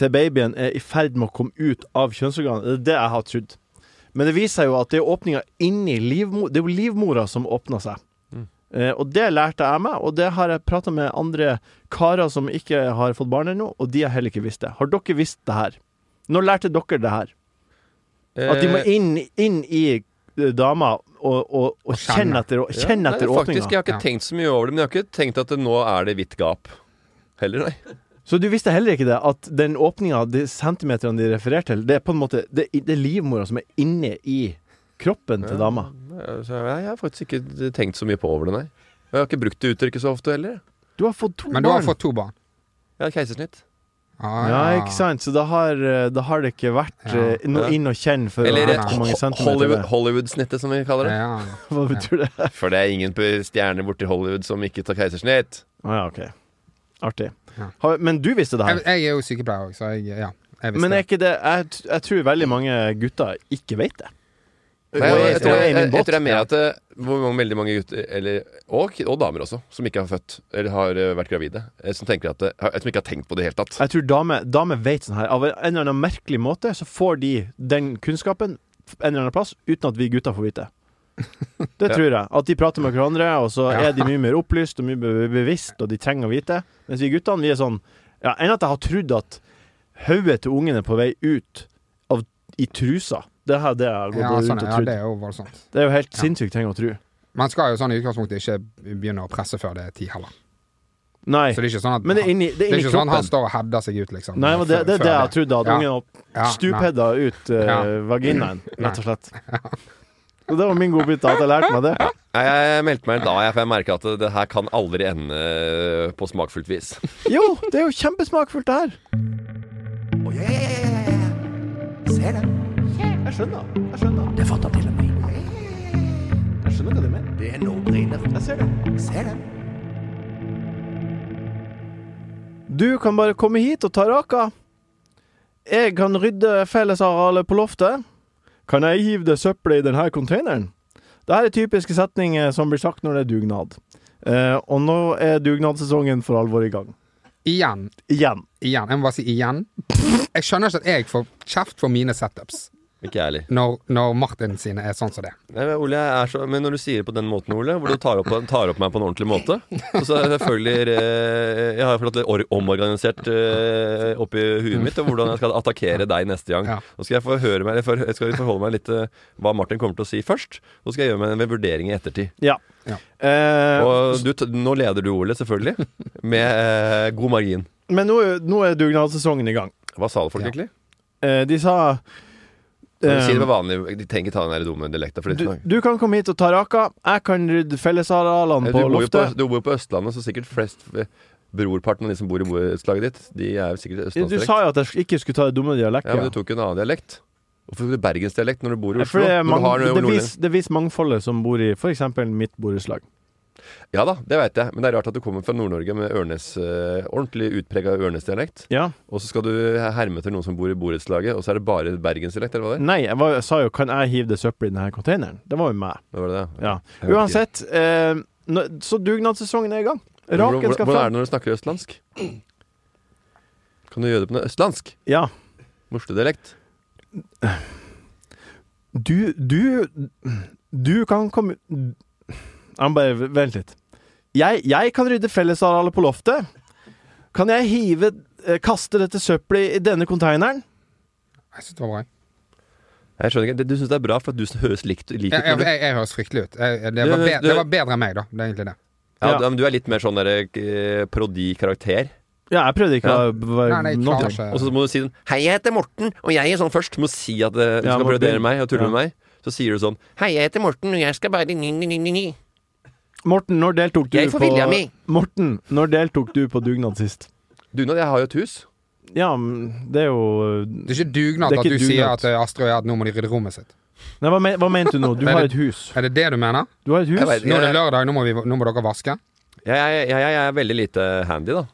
Speaker 2: til babyen er i ferd med å komme ut av kjønnsorganet. Det er det jeg har trodd. Men det viser seg jo at det er åpninga inni livmor... Det er jo livmora som åpner seg. Eh, og det lærte jeg meg, og det har jeg prata med andre karer som ikke har fått barn ennå, og de har heller ikke visst det. Har dere visst det her? Når lærte dere det her? At de må
Speaker 5: Eh,
Speaker 2: inn, inn i eh, dama og, og, og kjenne
Speaker 6: kjenne.
Speaker 2: etter, og kjenne
Speaker 5: ja,
Speaker 2: etter
Speaker 5: nei, Faktisk,
Speaker 2: åpninga.
Speaker 5: jeg har ikke
Speaker 6: Ja.
Speaker 5: tenkt så mye over det, men jeg har ikke tenkt at det, nå er det hvitt gap. Heller, nei.
Speaker 2: Så du visste heller ikke det, at den åpninga, de centimeterne de refererte til, det er på en måte Det, det er livmora som er inne i kroppen til dama.
Speaker 5: Så altså, jeg, jeg har faktisk ikke tenkt så mye på over det, nei. Og Jeg har ikke brukt det uttrykket så ofte heller.
Speaker 2: Du har fått to
Speaker 6: Men du har
Speaker 2: barn.
Speaker 6: fått to barn.
Speaker 5: Jeg har keisersnitt.
Speaker 6: Ah,
Speaker 2: Ja, ikke sant? Så da har, eh, da har det ikke vært
Speaker 6: Ja.
Speaker 2: eh, noe
Speaker 5: Ja.
Speaker 2: inn og kjenne for
Speaker 5: Eller
Speaker 2: hvor
Speaker 5: eh,
Speaker 2: mange
Speaker 5: ho-
Speaker 2: centimeter
Speaker 5: Hollywood-
Speaker 2: det er.
Speaker 5: Hollywood-snittet, som vi kaller det.
Speaker 6: Ja.
Speaker 2: Hva betyr det?
Speaker 5: For det er ingen på- stjerner borti Hollywood som ikke tar keisersnitt.
Speaker 2: Å ja, ok. Artig.
Speaker 6: Ja.
Speaker 2: Har, men du visste det
Speaker 6: Jeg,
Speaker 2: her.
Speaker 6: jeg er jo sykepleier òg, så jeg, ja, jeg visste
Speaker 2: Men er
Speaker 6: det.
Speaker 2: ikke det jeg, t- jeg tror veldig mange gutter ikke vet det.
Speaker 5: Nei,
Speaker 2: Og
Speaker 5: jeg,
Speaker 2: jeg-
Speaker 5: jeg, tror,
Speaker 2: og jeg er i
Speaker 5: jeg,
Speaker 2: min
Speaker 5: jeg,
Speaker 2: båt.
Speaker 5: tror det er mer at eh, hvor mange, veldig mange gutter, eller, og, ki- og damer også, som ikke har født, eller har eh, vært gravide, eh, som, tenker at, det- har- som ikke har tenkt på det i det hele tatt.
Speaker 2: Jeg tror damer dame vet sånn her. Av en eller annen merkelig måte så får de den kunnskapen f- en eller annen plass uten at vi gutter får vite. Det
Speaker 5: Ja.
Speaker 2: tror jeg. At de prater med hverandre, og så
Speaker 6: Ja.
Speaker 2: er de mye mer opplyst og mye be be- bevisst, og de trenger å vite. Mens vi guttene, vi er sånn ja, Enn at jeg har trodd at hodet til ungen er på vei ut av, i trusa. Det her det jeg går
Speaker 6: Ja,
Speaker 2: rundt
Speaker 6: sånn,
Speaker 2: og
Speaker 6: ja,
Speaker 2: trodd.
Speaker 6: det er jo voldsomt.
Speaker 2: det er jo helt
Speaker 6: Ja.
Speaker 2: sinnssykt ting å tro.
Speaker 6: Man skal jo sånn i utgangspunktet ikke begynne å presse før det er ti heller.
Speaker 2: Nei.
Speaker 6: Så det er ikke sånn at
Speaker 2: Men det er inni, det
Speaker 6: det
Speaker 2: er
Speaker 6: er
Speaker 2: inni
Speaker 6: ikke sånn
Speaker 2: kroppen.
Speaker 6: at han står og hevder seg ut, liksom.
Speaker 2: Nei, men det, det er
Speaker 6: før-
Speaker 2: det
Speaker 6: før
Speaker 2: jeg trodde, at
Speaker 6: Ja.
Speaker 2: ungen
Speaker 6: Ja, nei.
Speaker 2: opp stupedda ut eh,
Speaker 6: Ja.
Speaker 2: vaginaen, rett og slett. Så det var min godbit, da, at jeg lærte meg det.
Speaker 5: Nei, jeg meldte meg en dag, jeg, for jeg merker at det, det her kan aldri ende eh, på smakfullt vis.
Speaker 2: Jo, det er jo kjempesmakfullt, det her. Oh, Jeg skjønner. Jeg skjønner. Det fatter til og med. Jeg skjønner hva du mener. Det er no-brainer. Jeg ser det. Du kan bare komme hit og ta raka. Jeg kan rydde fellesarealet på loftet. Kan jeg hive det søppelet i denne containeren? Dette er typiske setninger som blir sagt når det er dugnad. Eh, og nå er dugnadssesongen for alvor i gang.
Speaker 6: Igjen.
Speaker 2: Igjen.
Speaker 6: Igjen. Jeg må bare si igjen. Jeg skjønner ikke at jeg får kjeft for mine setups
Speaker 5: Ikke jeg heller.
Speaker 6: når, når Martin sine er sånn som det.
Speaker 5: Nei, men Ole, jeg er så, men når du sier det på den måten, Ole, hvor du tar opp, tar opp meg på en ordentlig måte Og så er det selvfølgelig eh, Jeg har fått litt or- omorganisert eh, oppi huet mitt og hvordan jeg skal attakkere deg neste gang.
Speaker 6: Ja.
Speaker 5: Nå skal jeg, forhøre meg, eller for, jeg skal forholde meg litt til hva Martin kommer til å si først. Og så skal jeg gjøre meg en vurdering i ettertid.
Speaker 2: Ja.
Speaker 6: Ja.
Speaker 2: Eh,
Speaker 5: Og du, t- nå leder du, Ole, selvfølgelig. Med eh, god margin.
Speaker 2: men nå, er- nå er dugnadssesongen i gang.
Speaker 5: Hva sa folk
Speaker 6: Ja.
Speaker 5: egentlig?
Speaker 2: Eh, de sa
Speaker 5: Når du sier
Speaker 2: eh,
Speaker 5: det med
Speaker 6: Um,
Speaker 5: vanlig De trenger ikke ta den der dumme dialekta. for det-
Speaker 2: du, du kan komme hit og ta raka. Jeg kan rydde fellesarealene
Speaker 5: Eh,
Speaker 2: på
Speaker 5: du, bor jo på,
Speaker 2: loftet.
Speaker 5: du bor jo på Østlandet, så sikkert flest eh, brorparten av de som bor i borettslaget ditt, de er jo sikkert
Speaker 2: Du,
Speaker 5: østlandsdialekt.
Speaker 2: sa jo at jeg ikke skulle ta det dumme dialektet.
Speaker 5: Ja, men du tok jo en annen dialekt. Hvorfor tok du bergensdialekt når du bor i
Speaker 2: For
Speaker 5: Oslo?
Speaker 2: det, er
Speaker 5: Når
Speaker 2: mang-
Speaker 5: du har noe-
Speaker 2: det,
Speaker 5: noe-
Speaker 2: vis, det viser mangfoldet som bor i f.eks. mitt borettslag.
Speaker 5: Ja da, det veit jeg, men det er rart at du kommer fra Nord-Norge med Ørnes, eh, ordentlig utprega Ørnes-dialekt,
Speaker 2: Ja.
Speaker 5: og så skal du herme etter noen som bor i borettslaget, og så er det bare bergensdialekt, eller hva det er?
Speaker 2: Nei, jeg, var, jeg sa jo 'kan jeg hive det søppelet i denne containeren'? Det var jo meg.
Speaker 5: Hva var det det?
Speaker 2: Ja.
Speaker 5: Jeg vet ikke.
Speaker 2: Uansett, eh, nå- så dugnadssesongen er i gang.
Speaker 5: Hvordan,
Speaker 2: Raken skal
Speaker 5: hvordan er
Speaker 2: fram.
Speaker 5: det når du snakker østlandsk? Kan du gjøre det på noe østlandsk?
Speaker 2: Ja.
Speaker 5: Morsedialekt?
Speaker 2: Du, du Du kan komme Jeg må bare v- Vent litt. Jeg, jeg kan rydde fellesarealet på loftet. Kan jeg hive eh, Kaste dette søppelet i denne containeren?
Speaker 6: Jeg synes det var bra. jeg.
Speaker 5: Jeg skjønner ikke, Det- Du syns det er bra for at du høres likt, lik ut?
Speaker 6: Jeg,
Speaker 5: når
Speaker 6: jeg,
Speaker 5: du-
Speaker 6: jeg, jeg høres fryktelig ut. Jeg, jeg- det,
Speaker 5: Du-
Speaker 6: var bedre,
Speaker 5: du-
Speaker 6: det var bedre enn meg, da. Det er egentlig det.
Speaker 5: Ja,
Speaker 2: Ja.
Speaker 5: du- men du er litt mer sånn der, eh, parodikarakter.
Speaker 2: Ja, jeg prøvde ikke å
Speaker 5: Ja.
Speaker 2: være
Speaker 6: Nei, nei,
Speaker 2: nå-
Speaker 6: klart.
Speaker 5: Og så må du si sånn Hei, jeg heter Morten, og jeg er sånn først. Du må si at eh, du
Speaker 2: Ja,
Speaker 5: skal
Speaker 2: Morten.
Speaker 5: parodere meg og tulle
Speaker 2: Ja.
Speaker 5: med meg. Så sier du sånn Hei, jeg heter Morten, og jeg skal bare ni, ni, ni, ni, ni.
Speaker 2: Morten, når deltok du
Speaker 5: Jeg får
Speaker 2: på
Speaker 5: vilja mi.
Speaker 2: Morten, når deltok du på dugnad sist?
Speaker 5: Dugnad, jeg har jo et hus.
Speaker 2: Ja, men det er jo eh,
Speaker 6: Det er ikke dugnad
Speaker 2: Det er
Speaker 6: at
Speaker 2: ikke
Speaker 6: du sier
Speaker 2: dugnad.
Speaker 6: at eh, Astrid og jeg at nå må de rydde rommet sitt.
Speaker 2: Nei, hva, men, hva mente du nå? Du
Speaker 6: Nei,
Speaker 2: har
Speaker 6: det-
Speaker 2: et hus.
Speaker 6: Er det det du mener?
Speaker 2: Du har et
Speaker 5: Jeg vet
Speaker 2: hus.
Speaker 5: ikke.
Speaker 6: Nå er det lørdag, nå må, vi, nå må dere vaske.
Speaker 5: Jeg, jeg, jeg, jeg er veldig lite handy, da.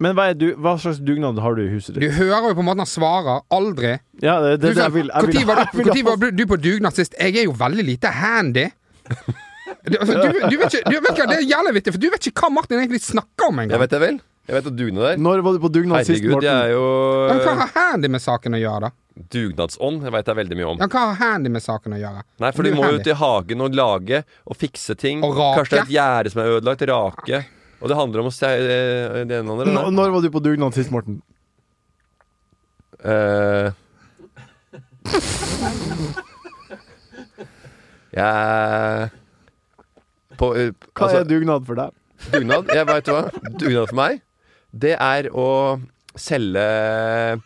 Speaker 2: Men hva, er du, hva slags dugnad har du i huset
Speaker 6: Du
Speaker 2: ditt?
Speaker 6: hører jo på en måte han svarer aldri.
Speaker 2: Ja, det, det,
Speaker 6: Du
Speaker 2: det,
Speaker 6: sa,
Speaker 2: jeg vil, jeg vil,
Speaker 6: "Hvor tid var,
Speaker 2: jeg
Speaker 6: du-
Speaker 2: vil
Speaker 6: hvor tid var du du på dugnad sist? Jeg er jo veldig lite handy. Du, altså, du, du vet ikke, du vet ikke, det er jævlig vittig, for du vet ikke hva Martin egentlig snakker om
Speaker 5: Jeg
Speaker 6: engang.
Speaker 5: vet det vel. Jeg vet at dugnad er
Speaker 2: Når var du på dugnad sist,
Speaker 5: Herregud,
Speaker 2: Morten?
Speaker 5: jeg er
Speaker 6: Men hva
Speaker 5: jo eh,
Speaker 6: har handy med saken å gjøre, da?
Speaker 5: dugnadsånd. Jeg veit det er veldig mye om.
Speaker 6: Ja, hva har handy med saken å gjøre?
Speaker 5: Nei, for
Speaker 6: Du
Speaker 5: du
Speaker 6: er
Speaker 5: må jo
Speaker 6: handy.
Speaker 5: ut i hagen og lage og fikse ting.
Speaker 6: Og rake.
Speaker 5: Kanskje det er et gjerde som er ødelagt. Rake. Og det handler om å se eh, det ene og det
Speaker 2: Nå-
Speaker 5: andre.
Speaker 2: Når var du på dugnad sist, Morten?
Speaker 5: Eh. Jeg på, eh,
Speaker 2: Hva
Speaker 5: altså,
Speaker 2: er dugnad for deg?
Speaker 5: Dugnad, jeg vet hva. Dugnad for meg, det er å selge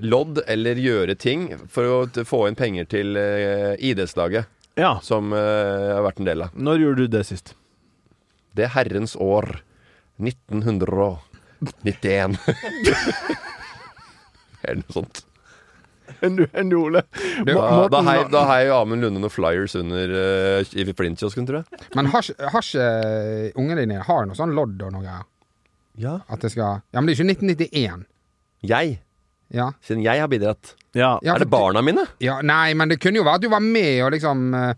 Speaker 5: lodd eller gjøre ting for å t- få inn penger til eh, idrettslaget
Speaker 2: Ja.
Speaker 5: som eh, jeg har vært en del av.
Speaker 2: Når gjorde du det sist?
Speaker 5: Det er herrens år 1991. Eller noe sånt.
Speaker 2: Enn du, enn du Ole?
Speaker 5: Da,
Speaker 6: Du,
Speaker 5: da
Speaker 2: Morten,
Speaker 5: heier
Speaker 2: da-
Speaker 5: da heier jo Amund Lunde noen flyers under eh, i Flint-kiosken, tror jeg.
Speaker 6: Men har ikke- har ikke ungene dine Har noe sånn lodd og noe greier?
Speaker 5: Ja.
Speaker 6: At det skal Ja, men det er ikke 1991.
Speaker 5: Jeg,
Speaker 6: Ja.
Speaker 5: siden jeg har bidratt.
Speaker 2: Ja.
Speaker 6: Ja,
Speaker 5: er det
Speaker 6: for-
Speaker 5: barna mine?
Speaker 6: Ja, nei, men det kunne jo være at du var med og liksom eh,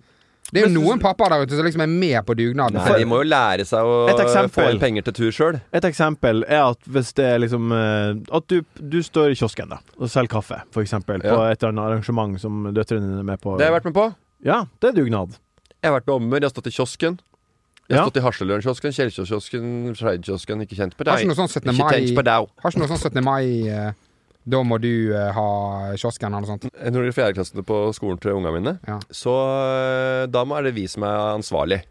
Speaker 6: Det er jo noen pappaer der ute som liksom er med på dugnaden.
Speaker 5: Nei, de må jo lære seg å
Speaker 2: Et eksempel.
Speaker 5: få inn penger til tur sjøl.
Speaker 2: Et eksempel er at hvis det er liksom eh, At du, du står i kiosken da og selger kaffe, for eksempel, på
Speaker 5: Ja.
Speaker 2: et eller annet arrangement som døtrene dine er med på.
Speaker 5: Det har jeg vært med på.
Speaker 2: Ja, det er dugnad.
Speaker 5: Jeg har vært med ommer, jeg har stått i kiosken. Jeg har
Speaker 2: Ja.
Speaker 5: stått i Haslelørenkiosken, Kjellkjøskiosken, Skeidkiosken. Ikke kjent på
Speaker 6: Har ikke
Speaker 5: deg.
Speaker 6: noe sånn 17.
Speaker 5: Ikke tenk på
Speaker 6: mai
Speaker 5: deg.
Speaker 6: Har ikke noe sånn 17. mai eh, Da må du eh, ha kiosken eller noe sånt.
Speaker 5: Når det er fjerdeklassene på skolen til ungene mine,
Speaker 6: Ja.
Speaker 5: så øh, da må- er det vi som er ansvarlig.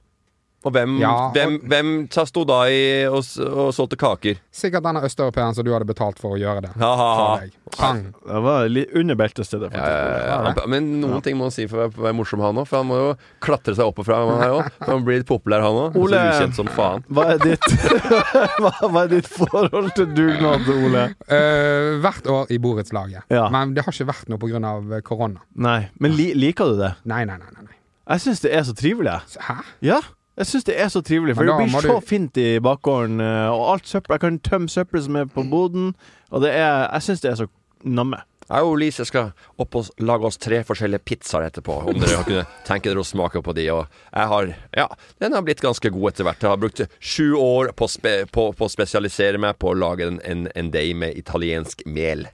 Speaker 5: Og hvem,
Speaker 6: Ja, og-
Speaker 5: hvem, hvem sa- sto da i og, s- og solgte kaker?
Speaker 6: Sikkert denne østeuropeeren som du hadde betalt for å gjøre det.
Speaker 5: Ha, ha, ha.
Speaker 6: For deg. Pang.
Speaker 2: Det var litt under beltestedet,
Speaker 5: Ja,
Speaker 2: faktisk.
Speaker 5: ja, ja. Han- Men noen ting må han si for å være- for å være morsom, han òg. For han må jo klatre seg opp og fram, han òg. For han blir litt populær, han òg.
Speaker 2: Ole.
Speaker 5: Så ukjent som faen.
Speaker 2: Hva er ditt hva, hva er ditt forhold til dugnad, Ole?
Speaker 6: Eh, hvert år i borettslaget.
Speaker 2: Ja.
Speaker 6: Men det har ikke vært noe pga. eh, korona.
Speaker 2: Nei, men li, liker du det?
Speaker 6: Nei, nei, nei. nei, nei.
Speaker 2: Jeg syns det er så trivelig. jeg.
Speaker 6: Så- Hæ?
Speaker 2: Ja, Jeg syns det er så trivelig, for det
Speaker 6: Men da
Speaker 2: blir
Speaker 6: må
Speaker 2: så
Speaker 6: du-
Speaker 2: fint i bakgården. eh, Og alt søppel Jeg kan tømme søppel som er på
Speaker 6: Mm.
Speaker 2: boden, og det er Jeg syns det er så namme.
Speaker 5: Au, Lise skal opp og s- lage oss tre forskjellige pizzaer etterpå. Om dere kunne tenke dere å smake på de. Og jeg har Ja, den har blitt ganske god etter hvert. Jeg har brukt sju år på, å spe, på, på å spesialisere meg på å lage en, en, en deig med italiensk mel,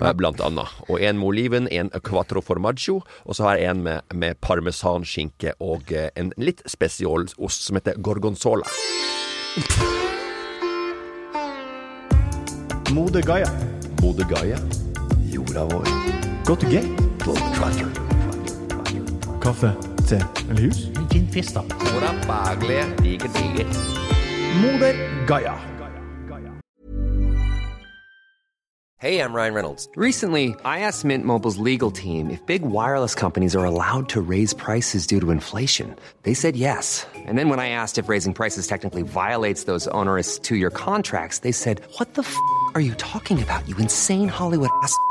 Speaker 5: eh, blant annet. Og en med oliven, en quattro formaggio, og så har jeg en med, med parmesanskinke og eh, en litt spesial ost som heter gorgonzola.
Speaker 2: Mode Gaia.
Speaker 5: Bodø Gaia, jorda vår,
Speaker 2: Go to gate.
Speaker 5: Don Quattro.
Speaker 2: Kaffe, te eller hus?
Speaker 5: Mora Bagle, diger, diger.
Speaker 2: Moder Gaia.
Speaker 7: Hey, I'm Ryan Reynolds. Recently, I asked Mint Mobile's legal team if big wireless companies are allowed to raise prices due to inflation. They said yes. And then when I asked if raising prices technically violates those onerous two year contracts, they said, What the f are you talking about, you insane Hollywood ass? f-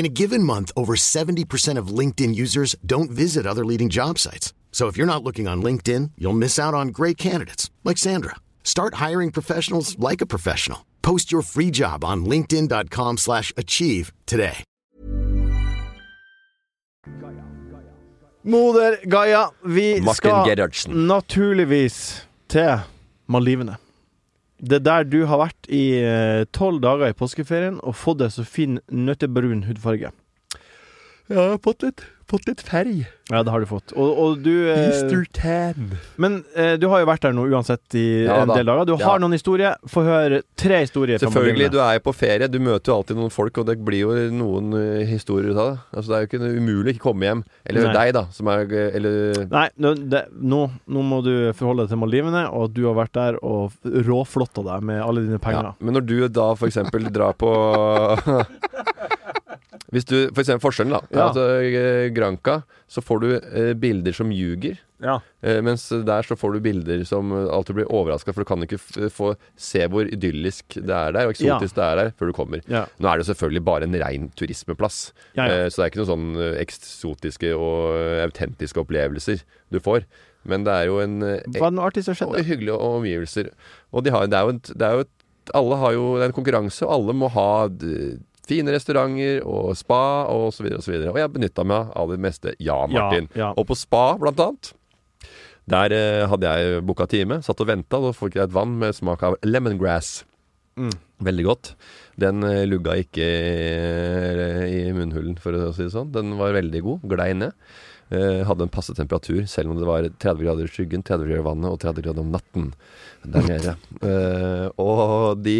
Speaker 4: In a given month, over 70% of LinkedIn users don't visit other leading job sites. So if you're not looking on LinkedIn, you'll miss out on great candidates like Sandra. Start hiring professionals like a professional. Post your free job on linkedin.com/achieve slash achieve today.
Speaker 2: Moder Gaia. Vi
Speaker 5: Martin
Speaker 2: skal
Speaker 5: Gerhardsen.
Speaker 2: naturligvis til Malivene. Det er der du har vært i eh, tolv dager i påskeferien og fått deg så fin nøttebrun hudfarge.
Speaker 5: Ja, jeg har fått litt, fått litt ferg.
Speaker 2: Ja, det har du fått. Og, og du eh,
Speaker 5: Easter tan.
Speaker 2: Men eh, du har jo vært der nå uansett i
Speaker 5: Ja
Speaker 2: en
Speaker 5: da.
Speaker 2: del dager. Du
Speaker 5: Ja.
Speaker 2: har noen historier. Få høre tre historier. fra
Speaker 5: Selvfølgelig,
Speaker 2: Malivene.
Speaker 5: du er jo på ferie. Du møter jo alltid noen folk, og det blir jo noen eh, historier ut av det. Altså, det er jo ikke umulig å ikke komme hjem. Eller
Speaker 2: Nei.
Speaker 5: deg, da, som er eh, Eller
Speaker 2: Nei, nå, det, nå, nå må du forholde deg til Maldivene, og at du har vært der og råflotta deg med alle dine penger.
Speaker 5: Ja. Men når du da for eksempel drar på Hvis du For eksempel forskjellen, da.
Speaker 2: Ja.
Speaker 5: Altså, eh, Granca, så får du eh, bilder som ljuger.
Speaker 2: Ja.
Speaker 5: Eh, Mens der så får du bilder som eh, alltid blir overraska, for du kan ikke f få se hvor idyllisk det er der, og
Speaker 2: Ja.
Speaker 5: eksotisk det er der, før du kommer.
Speaker 2: Ja.
Speaker 5: Nå er det jo selvfølgelig bare en rein turismeplass,
Speaker 2: Ja, ja.
Speaker 5: Eh, så det er ikke noen sånn eh, eksotiske og eh, autentiske opplevelser du får. Men det er jo en eh,
Speaker 2: Hva er det artig som
Speaker 5: og
Speaker 2: skjedde?
Speaker 5: hyggelige omgivelser. Og de har, det er jo, et, det er jo et, alle har jo det er en konkurranse, og alle må ha d- fine restauranter og spa og så videre og så videre. Og jeg benytta meg av det meste. Ja, Martin.
Speaker 2: Ja, ja.
Speaker 5: Og på spa, blant annet. Der eh, hadde jeg booka time, satt og venta. Da fikk jeg et vann med smak av lemongrass.
Speaker 2: Mm.
Speaker 5: Veldig godt. Den eh, lugga ikke eh, i munnhulen, for å si det sånn. Den var veldig god. Glei ned. Eh, hadde en passe temperatur, selv om det var 30 grader i skyggen, 30 grader i vannet og 30 grader om natten der nede. Eh, og de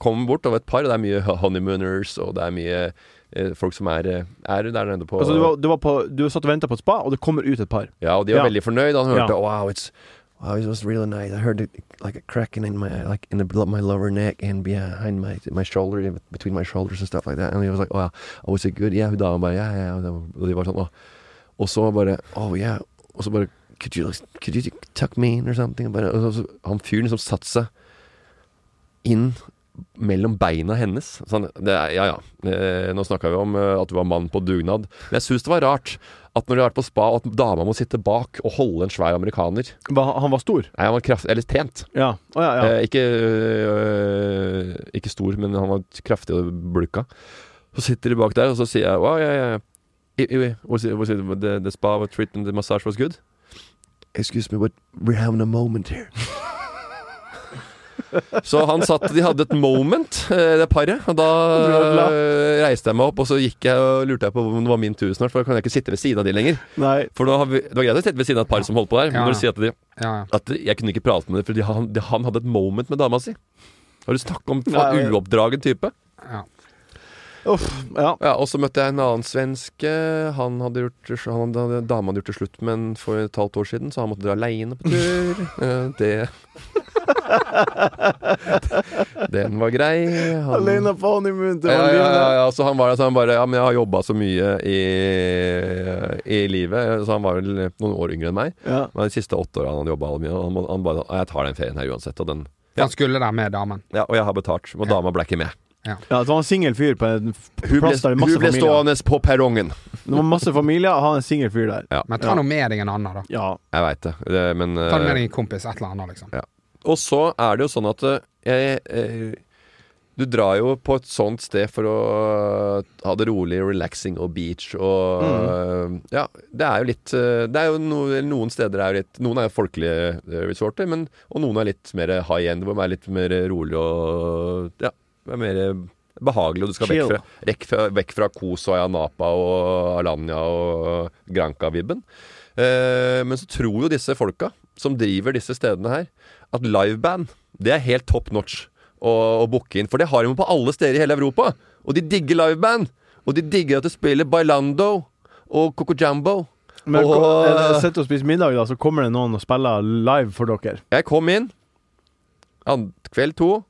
Speaker 5: kom bort, og et par. Det er mye honeymooners, og det er mye eh, folk som er, eh, er der nede på
Speaker 2: Altså, du, var, du, var på, du satt og venta på et spa, og det kommer ut et par.
Speaker 5: ja, og de var
Speaker 2: Ja.
Speaker 5: veldig fornøyd. Han hørte
Speaker 2: Ja.
Speaker 5: Wow, it's Wow, it was really nice. I heard it like a cracking in my like in the blo- my lower neck and behind my my shoulder in between my shoulders and stuff like that. And he was like, wow, oh, was it good? Yeah, hun dama bare, yeah, yeah. Og de- Og de var sånn, «Åh». Og så bare, oh yeah. Og så bare, could you, like, could you tuck me in or something? Og Bare, og så, han fyren liksom satte seg inn mellom beina hennes. Sånn, det er, ja ja, eh, nå snakka vi om eh, at du var mann på dugnad. Men jeg syns det var rart at når du har vært på spa, at dama må sitte bak og holde en svær amerikaner.
Speaker 2: Hva- Han var stor.
Speaker 5: Nei, han var kraft, eller trent.
Speaker 2: Ja. Å, ja, ja.
Speaker 5: Eh, ikke, øh, ikke stor, men han var kraftig og bulka. Så sitter de bak der, og så sier jeg wow, yeah, yeah. It, it, was it, was it, the, the spa was treatment, the massage was good? Excuse me, but we're having a moment here. så han satt, de hadde et moment, eh, det paret. Og da eh, reiste jeg meg opp, og så gikk jeg og lurte jeg på om det var min tur snart, for da kan jeg ikke sitte ved siden av de lenger.
Speaker 2: Nei.
Speaker 5: For nå har vi, det var greit å sitte ved siden av et par som holdt på der, men
Speaker 6: Ja,
Speaker 5: når
Speaker 6: ja.
Speaker 5: du sier at de
Speaker 6: Ja, ja.
Speaker 5: at jeg kunne ikke prate med det fordi han, det, han hadde et moment med dama si. Har du snakket om
Speaker 2: Nei.
Speaker 5: en uoppdragen type?
Speaker 6: ja.
Speaker 2: Uff. Ja.
Speaker 5: Ja, og så møtte jeg en annen svenske. Han hadde gjort, han hadde, dama hadde gjort det slutt med en for et halvt år siden, så han måtte dra aleine på tur. Eh, det Den var grei. Han-
Speaker 2: Alene på honeymoon til
Speaker 5: Um, ja, ja,
Speaker 2: Maldiven.
Speaker 5: ja, ja, så han var der, så han bare Ja, men jeg har jobba så mye i, i livet. Så han var vel noen år yngre enn meg.
Speaker 2: Ja.
Speaker 5: Men de siste åtte åra han hadde jobba mye, og han, må- han bare «Ja, Jeg tar den ferien her uansett. Og, den, Ja.
Speaker 6: Han skulle der med damen.
Speaker 5: ja, og jeg har betalt. Og dama ble ikke med.
Speaker 2: Ja, det var en singel fyr på en f-
Speaker 5: Hun ble,
Speaker 2: plass der det var
Speaker 5: hun
Speaker 2: masse
Speaker 5: ble
Speaker 2: familier.
Speaker 5: stående på perrongen.
Speaker 2: Det var masse familier, og han er en singel fyr der.
Speaker 6: Men ta
Speaker 2: Ja.
Speaker 6: nå med deg en annen, da.
Speaker 2: Ja.
Speaker 5: Jeg veit det, det, men
Speaker 6: Ta nå
Speaker 5: eh,
Speaker 6: med deg en kompis, et eller annet, liksom.
Speaker 5: Og så er det jo sånn at eh, jeg, eh, Du drar jo på et sånt sted for å eh, ha det rolig, relaxing og beach og eh, Ja, det er jo litt eh, Det er jo no, noen steder er jo litt Noen er jo folkelige eh, resorter, men, og noen er litt mer high end, hvor man er litt mer rolig og Ja, det er mer behagelig, og du skal vekk
Speaker 2: Chill.
Speaker 5: fra, rekk fra, vekk fra Kos og Ayanapa og Alanya og Granca-vibben. Eh, men så tror jo disse folka som driver disse stedene her, at liveband det er helt top notch å, å booke inn. For det har de jo på alle steder i hele Europa. Og de digger liveband. Og de digger at de spiller Bailando og Coco Jambo.
Speaker 2: Men
Speaker 5: og,
Speaker 2: oh. sitter og spiser middag, da, så kommer det noen og spiller live for dere.
Speaker 5: Jeg kom inn an- kveld to.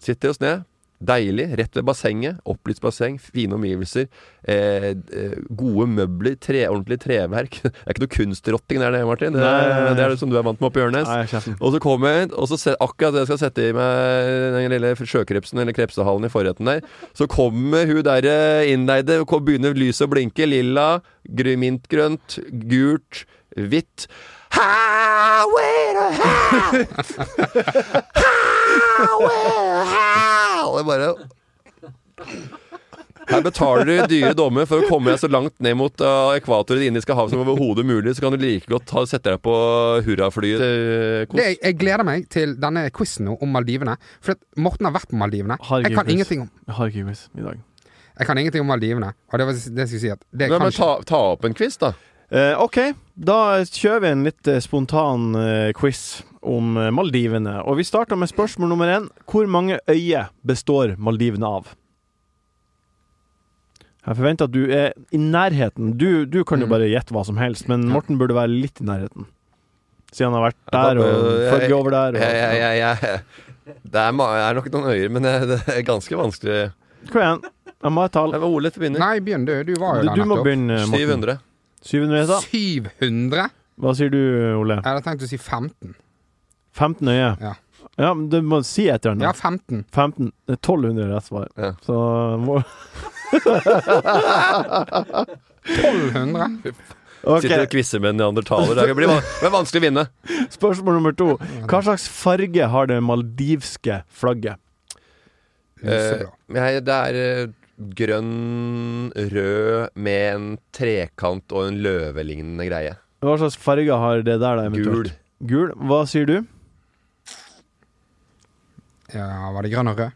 Speaker 5: Sitter oss ned. Deilig. Rett ved bassenget. Opplyst basseng. Fine omgivelser. Eh, eh, gode møbler. Tre, ordentlig treverk. Det er ikke noe kunstrotting der nede, Martin. Det,
Speaker 2: Nei, nei, nei.
Speaker 5: det er det som du er vant med oppe i Ørnes.
Speaker 2: Nei, kjeften.
Speaker 5: Og så kommer jeg inn, og så se, akkurat det jeg skal sette i meg den lille sjøkrepsen eller krepsehallen i forretten der, så kommer hun der eh, innleide, og kom- begynner lyset å blinke. Lilla, gry- mintgrønt, gult, hvitt. Highway to hell! Highway to hell! Det er bare her betaler du dyre dommer for å komme deg så langt ned mot uh, ekvatoret i Det indiske hav som overhodet mulig, så kan du like godt ta, sette deg på hurraflyet til Kos.
Speaker 6: Det, jeg- jeg gleder meg til denne quizen nå om Maldivene. For at Morten har vært på Maldivene.
Speaker 2: Har
Speaker 6: Jeg
Speaker 2: ikke
Speaker 6: kan
Speaker 2: quiz.
Speaker 6: ingenting om
Speaker 2: Jeg har ikke quiz i dag.
Speaker 6: Jeg kan ingenting om Maldivene. Og det, var, det skal jeg si at det
Speaker 5: Nei,
Speaker 6: kan
Speaker 5: men
Speaker 6: ikke
Speaker 5: ta, ta opp en quiz, da.
Speaker 2: Eh, OK, da kjører vi en litt eh, spontan eh, quiz om eh, Maldivene. Og vi starter med spørsmål nummer én. Hvor mange øyer består Maldivene av? Jeg forventer at du er i nærheten. Du, du kan jo
Speaker 6: Mm.
Speaker 2: bare gjette hva som helst, men Morten burde være litt i nærheten. Siden han har vært der og
Speaker 5: Øh, jeg-
Speaker 2: følger over der. Og,
Speaker 5: Jeg, jeg, jeg, jeg, det er, ma- er nok noen øyer, men det, det er ganske vanskelig.
Speaker 2: Kom igjen, jeg må ha et tall.
Speaker 5: Det var Ole til å begynne.
Speaker 6: Nei, begynn du. Du var jo
Speaker 2: Du,
Speaker 6: der
Speaker 2: du må
Speaker 6: nettopp.
Speaker 2: begynne, Morten.
Speaker 5: 700.
Speaker 2: 700 heter
Speaker 6: 700?
Speaker 2: Hva sier du, Ole?
Speaker 6: Jeg hadde tenkt å si 15.
Speaker 2: 15 øye.
Speaker 6: Ja.
Speaker 2: Ja, men du må si et eller
Speaker 6: Ja,
Speaker 2: annet.
Speaker 6: 15.
Speaker 2: 15 det er 1200 eh, er rett svar.
Speaker 5: Ja.
Speaker 2: Så må
Speaker 6: 1200?
Speaker 5: Sitter og
Speaker 2: Ok,
Speaker 5: kvisser med en neandertaler. Det blir van det er vanskelig å vinne.
Speaker 2: Spørsmål nummer to. Hva slags farge har det maldivske flagget?
Speaker 6: Lyseblå.
Speaker 5: Eh, jeg, det er eh, grønn, rød med en trekant og en løvelignende greie.
Speaker 2: Hva slags farge har det der, da?
Speaker 5: Gul.
Speaker 2: eventuelt? Gul. Hva sier du?
Speaker 6: Ja, var det grønn og rød?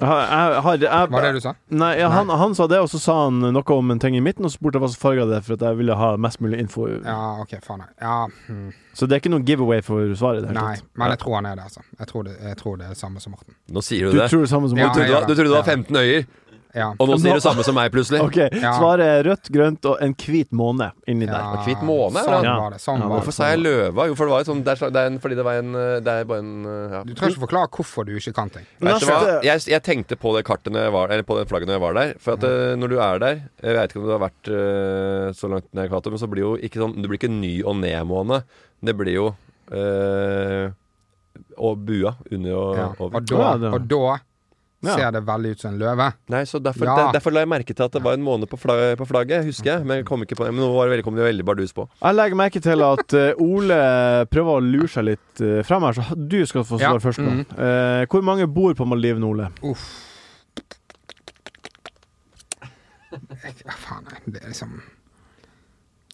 Speaker 2: Jeg har, jeg har, jeg,
Speaker 6: Var det det du sa?
Speaker 2: Nei, ja, han, han sa det, og så sa han noe om en ting i midten, og så spurte jeg hva slags farge det er, for at jeg ville ha mest mulig info.
Speaker 6: Ja, OK, faen. jeg- Ja, hmm,
Speaker 2: Så det er ikke noen giveaway for svaret. i det hele
Speaker 6: nei.
Speaker 2: tatt.
Speaker 6: Men jeg tror han er det, altså. Jeg tror det, jeg tror det er samme som Morten.
Speaker 5: Nå sier du
Speaker 2: Du
Speaker 5: det.
Speaker 2: tror det samme som
Speaker 6: Ja,
Speaker 5: Du trodde,
Speaker 6: jeg
Speaker 5: du-
Speaker 6: gjør
Speaker 5: du trodde det var
Speaker 6: det.
Speaker 5: 15 øyer,
Speaker 6: Ja.
Speaker 5: og nå
Speaker 2: Nå-
Speaker 5: sier du samme som meg plutselig.
Speaker 2: Ok, Svaret er rødt, grønt og en hvit måne inni der.
Speaker 5: Og hvit måne, er det?
Speaker 6: Sånn
Speaker 2: Ja.
Speaker 6: var det. Sånn
Speaker 2: Ja,
Speaker 6: var
Speaker 5: Hvorfor
Speaker 6: det.
Speaker 5: sa jeg løva? Jo, for det var jo sånn det er, sla- det er en, Fordi det var en eh, Det er bare en eh, ja.
Speaker 6: Du trenger ikke forklare hvorfor du ikke kan ting.
Speaker 5: Vet du hva?
Speaker 2: Neste-
Speaker 5: Jeg, jeg tenkte på det kartet når jeg var Eller på det flagget når jeg var der. For at eh, når du er der Jeg vet ikke om du har vært eh, så langt ned i Kato, men så blir jo ikke sånn Det blir ikke ny og ned-måne. Det blir jo eh, Og bua under og
Speaker 6: Ja. Og
Speaker 5: over.
Speaker 6: da,
Speaker 2: Ja, det-
Speaker 6: og da
Speaker 2: Ja.
Speaker 6: ser det veldig ut som en løve.
Speaker 5: Nei, så derfor,
Speaker 6: Ja.
Speaker 5: der, derfor la jeg merke til at det var en måne på, fla- på flagget, husker jeg. Men jeg kom ikke på det. Men nå var det veldig, kom det veldig bardus på.
Speaker 2: Jeg legger merke til at eh, Ole prøver å lure seg litt eh, frem her, så du skal få
Speaker 6: Ja,
Speaker 2: svare først. nå.
Speaker 5: Mm.
Speaker 2: Eh, hvor mange bor på Maldivene, Ole?
Speaker 6: Jeg- Hva faen er det? det er liksom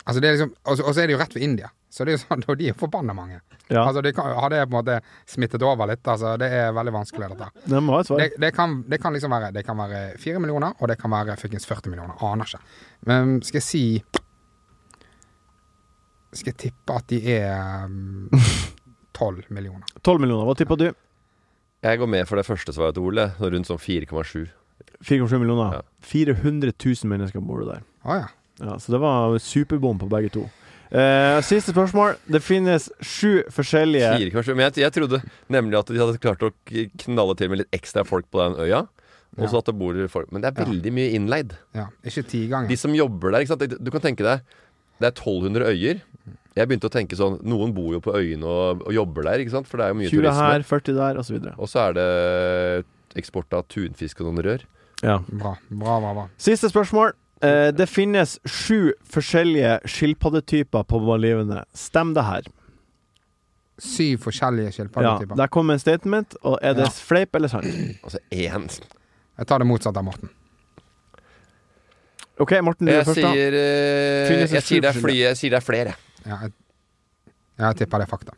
Speaker 6: Altså det er liksom Og så og så er det jo rett ved India. Så det er jo sånn, og de er forbanna mange.
Speaker 2: Ja,
Speaker 6: Altså det kan, Har det på en måte smittet over litt? Altså Det er veldig vanskelig, dette.
Speaker 2: det må ha et svar.
Speaker 6: Det, det, kan, det kan liksom være Det kan være 4 millioner, og det kan være fuckings 40 millioner. Aner ikke. Men skal jeg si Skal jeg tippe at de er mm, 12 millioner?
Speaker 2: 12 millioner. Hva tippa du?
Speaker 5: Jeg går med for det første svaret til Ole, så rundt sånn 4,7.
Speaker 2: 4,7 millioner.
Speaker 5: Ja.
Speaker 2: 400 000 mennesker bor det der.
Speaker 6: Å ja.
Speaker 2: Ja, så det var superbom på begge to. Eh, siste spørsmål. Det finnes sju forskjellige
Speaker 5: Fire kanskje, men jeg, jeg trodde nemlig at de hadde klart å k- knalle til med litt ekstra folk på den øya. Og så
Speaker 6: Ja.
Speaker 5: at det bor folk Men det er veldig mye innleid.
Speaker 6: Ja, ikke ti ganger.
Speaker 5: De som jobber der, ikke sant? Du kan tenke deg Det er 1200 øyer. Jeg begynte å tenke sånn Noen bor jo på øyene og, og jobber der, ikke sant? For det er jo mye
Speaker 2: 20
Speaker 5: turisme.
Speaker 2: her, 40 der, osv.
Speaker 5: Og så er det eksport av tunfisk og noen rør.
Speaker 2: Ja.
Speaker 6: Bra, bra, bra. bra.
Speaker 2: Siste spørsmål. Eh, det finnes sju forskjellige skilpaddetyper på Malivene. Stem det her.
Speaker 6: Syv
Speaker 2: Ja,
Speaker 6: forskjellige skilpaddetyper.
Speaker 2: der kom en statement, og er det
Speaker 6: Ja.
Speaker 2: fleip eller sant?
Speaker 5: Altså én
Speaker 6: Jeg tar det motsatte av Morten.
Speaker 2: OK, Morten, du er
Speaker 5: Jeg
Speaker 2: først, da.
Speaker 5: sier, eh,
Speaker 2: Finnes det
Speaker 5: jeg sier det er
Speaker 2: superskille?
Speaker 5: fly, jeg sier det er flere.
Speaker 6: Ja, jeg, jeg tipper det er fakta.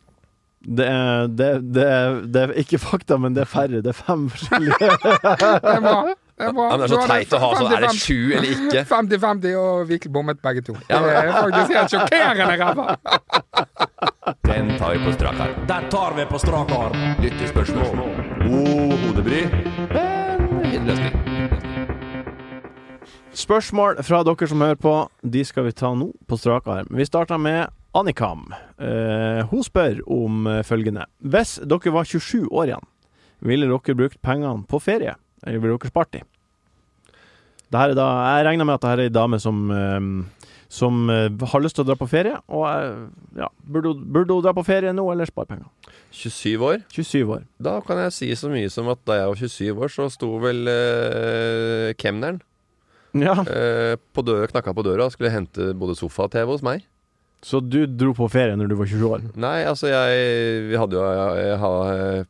Speaker 2: Det er, det, det, er, det er ikke fakta, men det er færre. Det er fem forskjellige.
Speaker 6: Det er bra. Det er bra.
Speaker 5: Ja, men det er så teit å ha sånn. Er det sju eller ikke?
Speaker 6: 50-50, og vi bommet begge to. Det
Speaker 5: Ja, men-
Speaker 6: er faktisk helt sjokkerende, ræva!
Speaker 5: Den tar vi på strak arm.
Speaker 8: Den tar vi på strak arm.
Speaker 5: Lyttespørsmål. God hodebry. Men løsning.
Speaker 2: Spørsmål fra dere som hører på, de skal vi ta nå på strak arm. Vi starter med Annikam. Eh, hun spør om eh, følgende. Hvis dere var 27 år igjen, ville dere brukt pengene på ferie? Eller ville dere spart dem? Det her er da, jeg regner med at det her er ei dame som, eh, som eh, har lyst til å dra på ferie. Og eh, ja, burde, hun- burde hun dra på ferie nå, eller spare penger?
Speaker 5: 27 år.
Speaker 2: 27 år.
Speaker 5: Da kan jeg si så mye som at da jeg var 27 år, så sto vel eh, kemneren
Speaker 2: Ja,
Speaker 5: eh, på døra, knakka på døra og skulle hente både sofa og TV hos meg.
Speaker 2: Så du dro på ferie når du var 27 år?
Speaker 5: Nei, altså jeg Vi hadde jo Jeg, jeg, ha-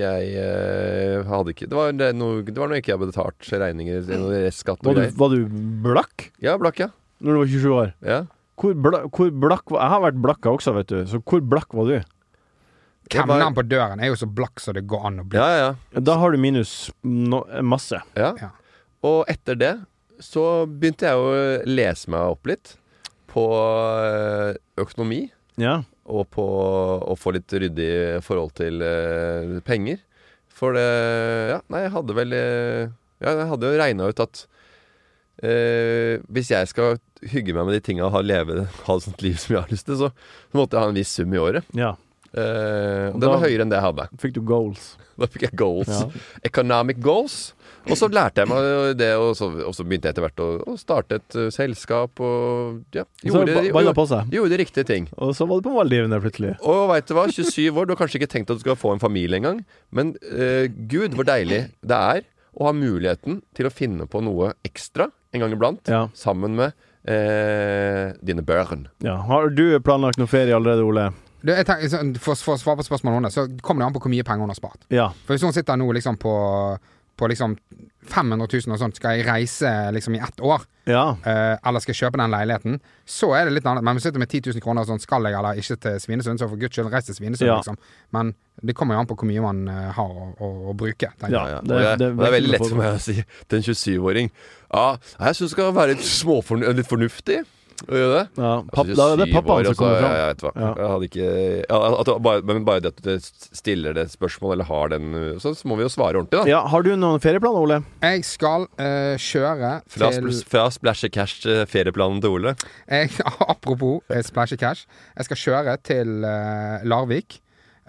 Speaker 5: jeg, eh, hadde ikke Det var, det, noe, det var noe ikke jeg hadde betalt regninger eller noe restskatt og
Speaker 2: Var du,
Speaker 5: greier.
Speaker 2: var du blakk
Speaker 5: Ja, blakk, ja.
Speaker 2: når du var 27 år?
Speaker 5: ja.
Speaker 2: Hvor, bla, hvor blakk var Jeg har vært blakka også, vet du. Så hvor blakk var du?
Speaker 5: Det var-
Speaker 6: Kemneren på døren er jo så blakk som det går an å bli.
Speaker 5: Ja, ja,
Speaker 2: Da har du minus no, masse.
Speaker 5: ja.
Speaker 6: Ja.
Speaker 5: ja. Og etter det så begynte jeg å lese meg opp litt på eh, økonomi.
Speaker 2: Ja.
Speaker 5: og på å få litt ryddig forhold til eh, penger. For det Ja, nei, jeg hadde vel eh, Ja, jeg hadde jo regna ut at eh, hvis jeg skal hygge meg med de tinga og ha, leve, ha et sånt liv som jeg har lyst til, så, så måtte jeg ha en viss sum i året.
Speaker 2: ja.
Speaker 5: Eh, og den
Speaker 2: Da-
Speaker 5: var høyere enn det jeg hadde.
Speaker 2: Fikk du goals?
Speaker 5: Da fikk jeg goals.
Speaker 2: Ja.
Speaker 5: Economic goals. Og så lærte jeg meg det, og så, og så begynte jeg etter hvert å, å starte et eh, selskap og ja,
Speaker 2: Så
Speaker 5: gjorde,
Speaker 2: ba- balla på seg.
Speaker 5: gjorde riktige ting.
Speaker 2: Og så var du på Maldivene plutselig.
Speaker 5: Og veit du hva, 27 år, du har kanskje ikke tenkt at du skal få en familie engang, men eh, gud hvor deilig det er å ha muligheten til å finne på noe ekstra en gang iblant,
Speaker 2: Ja.
Speaker 5: sammen med eh, dine børn.
Speaker 2: ja. Har du planlagt noe ferie allerede, Ole?
Speaker 6: Du, jeg tenker, så- for, for å svare på spørsmålet hennes, så kommer det an på hvor mye penger hun har spart.
Speaker 2: Ja.
Speaker 6: For hvis hun sitter nå liksom på, på liksom 500 000 og sånt, skal jeg reise liksom i ett år,
Speaker 2: Ja.
Speaker 6: eh, eller skal jeg kjøpe den leiligheten, så er det litt annet. Men hvis du sitter med 10 000 kroner og sånn, skal jeg eller ikke til Svinesund, så for guds skyld, reis til Svinesund,
Speaker 2: Ja.
Speaker 6: liksom. Men det kommer jo an på hvor mye man eh, har å, å, å bruke. tenker
Speaker 2: Ja.
Speaker 6: jeg.
Speaker 5: Ja,
Speaker 2: Det-
Speaker 5: og jeg,
Speaker 2: det
Speaker 5: det,
Speaker 2: er
Speaker 5: er
Speaker 2: virkelig
Speaker 5: veldig lett for meg å si til en 27-åring Ja, jeg syns du skal være litt, småfornu litt fornuftig. Å gjøre det.
Speaker 2: ja. Papp, da er det
Speaker 5: 27 år,
Speaker 2: pappaen som
Speaker 5: altså,
Speaker 2: kommer
Speaker 5: Jeg,
Speaker 2: fram.
Speaker 5: jeg vet hva.
Speaker 2: Ja.
Speaker 5: Jeg hadde ikke ja, at, det bare, Men bare det at du stiller det spørsmålet, eller har den Så, så må vi jo svare ordentlig, da.
Speaker 2: Ja, Har du noen ferieplaner, Ole?
Speaker 6: Jeg skal eh, kjøre
Speaker 5: Fra,
Speaker 6: til
Speaker 5: spl- fra Splashy Cash til ferieplanen til Ole.
Speaker 6: jeg, Apropos eh, Splashy Cash. Jeg skal kjøre til eh, Larvik.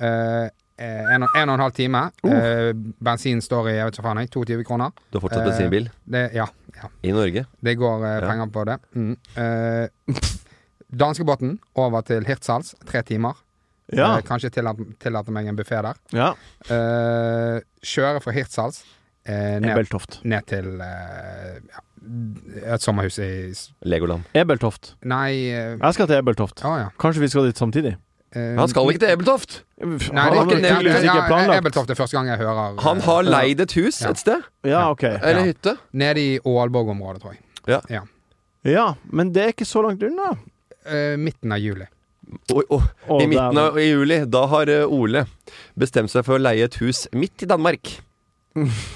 Speaker 6: Eh, eh, en, og- en og en halv time.
Speaker 2: Uh.
Speaker 6: Eh, bensin står i jeg vet ikke hva faen jeg, 22 kroner.
Speaker 5: Du har fortsatt
Speaker 6: Eh,
Speaker 5: bensinbil
Speaker 6: Det, ja, ja.
Speaker 5: i Norge.
Speaker 6: Det går eh,
Speaker 5: Ja.
Speaker 6: penger på det. Mm. Eh, Danskebåten over til Hirtshals. Tre timer.
Speaker 2: Ja.
Speaker 6: Eh, kanskje tillate tillate meg en buffé der.
Speaker 2: ja.
Speaker 6: Eh, kjøre fra Hirtshals eh, ned,
Speaker 2: Ebeltoft.
Speaker 6: ned til eh, ja, et sommerhus i s-
Speaker 5: Legoland.
Speaker 2: Ebeltoft.
Speaker 6: Nei eh,
Speaker 2: Jeg skal til Ebeltoft.
Speaker 6: Å ja.
Speaker 2: Kanskje vi skal dit samtidig?
Speaker 6: Eh,
Speaker 5: Men han skal ikke til Ebeltoft!
Speaker 6: Nei, det er
Speaker 2: Han har
Speaker 6: ikke, det,
Speaker 2: tydeligvis
Speaker 6: ja,
Speaker 2: ikke planlagt.
Speaker 6: Ebeltoft er første gang jeg hører
Speaker 5: Han
Speaker 6: eh,
Speaker 5: har leid et hus
Speaker 6: Ja.
Speaker 5: et sted.
Speaker 2: Ja, ok.
Speaker 5: Eller
Speaker 6: Ja.
Speaker 5: hytte.
Speaker 6: Nede i Ålborg-området, tror jeg.
Speaker 2: Ja, men det er ikke så langt unna.
Speaker 6: Eh, midten av juli.
Speaker 5: Og, og,
Speaker 2: Å,
Speaker 5: I midten
Speaker 2: dæven.
Speaker 5: av i juli, da har eh, Ole bestemt seg for å leie et hus midt i Danmark.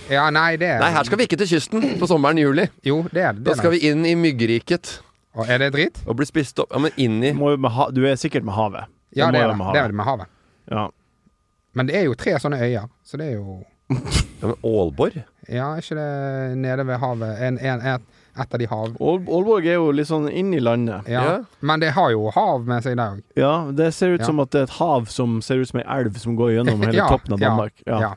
Speaker 6: Ja, nei, det er
Speaker 5: Nei, her skal vi ikke til kysten på sommeren i juli.
Speaker 6: Jo, det er det.
Speaker 5: Da skal vi inn i myggriket
Speaker 6: Og er det drit?
Speaker 5: og bli spist opp. Ja, men inn i
Speaker 2: Du må jo med ha- Du er sikkert med havet.
Speaker 6: Ja,
Speaker 2: må
Speaker 6: det
Speaker 2: jo
Speaker 6: er
Speaker 2: med
Speaker 6: det.
Speaker 2: havet.
Speaker 6: Det er det med havet.
Speaker 2: Ja.
Speaker 6: Men det er jo tre sånne øyer, så det er jo
Speaker 5: ja, men Aalborg.
Speaker 6: Ja, er ikke det nede ved havet en, en, et, Et av de hav...
Speaker 2: Ål- Aalborg er jo litt sånn inn i landet.
Speaker 6: Ja.
Speaker 5: Ja.
Speaker 6: Men det har jo hav med seg, det òg.
Speaker 2: Ja, det ser ut
Speaker 6: Ja.
Speaker 2: som at det er et hav som ser ut som ei elv som går gjennom hele
Speaker 6: Ja,
Speaker 2: toppen av
Speaker 6: ja,
Speaker 2: Danmark. Ja.
Speaker 6: ja.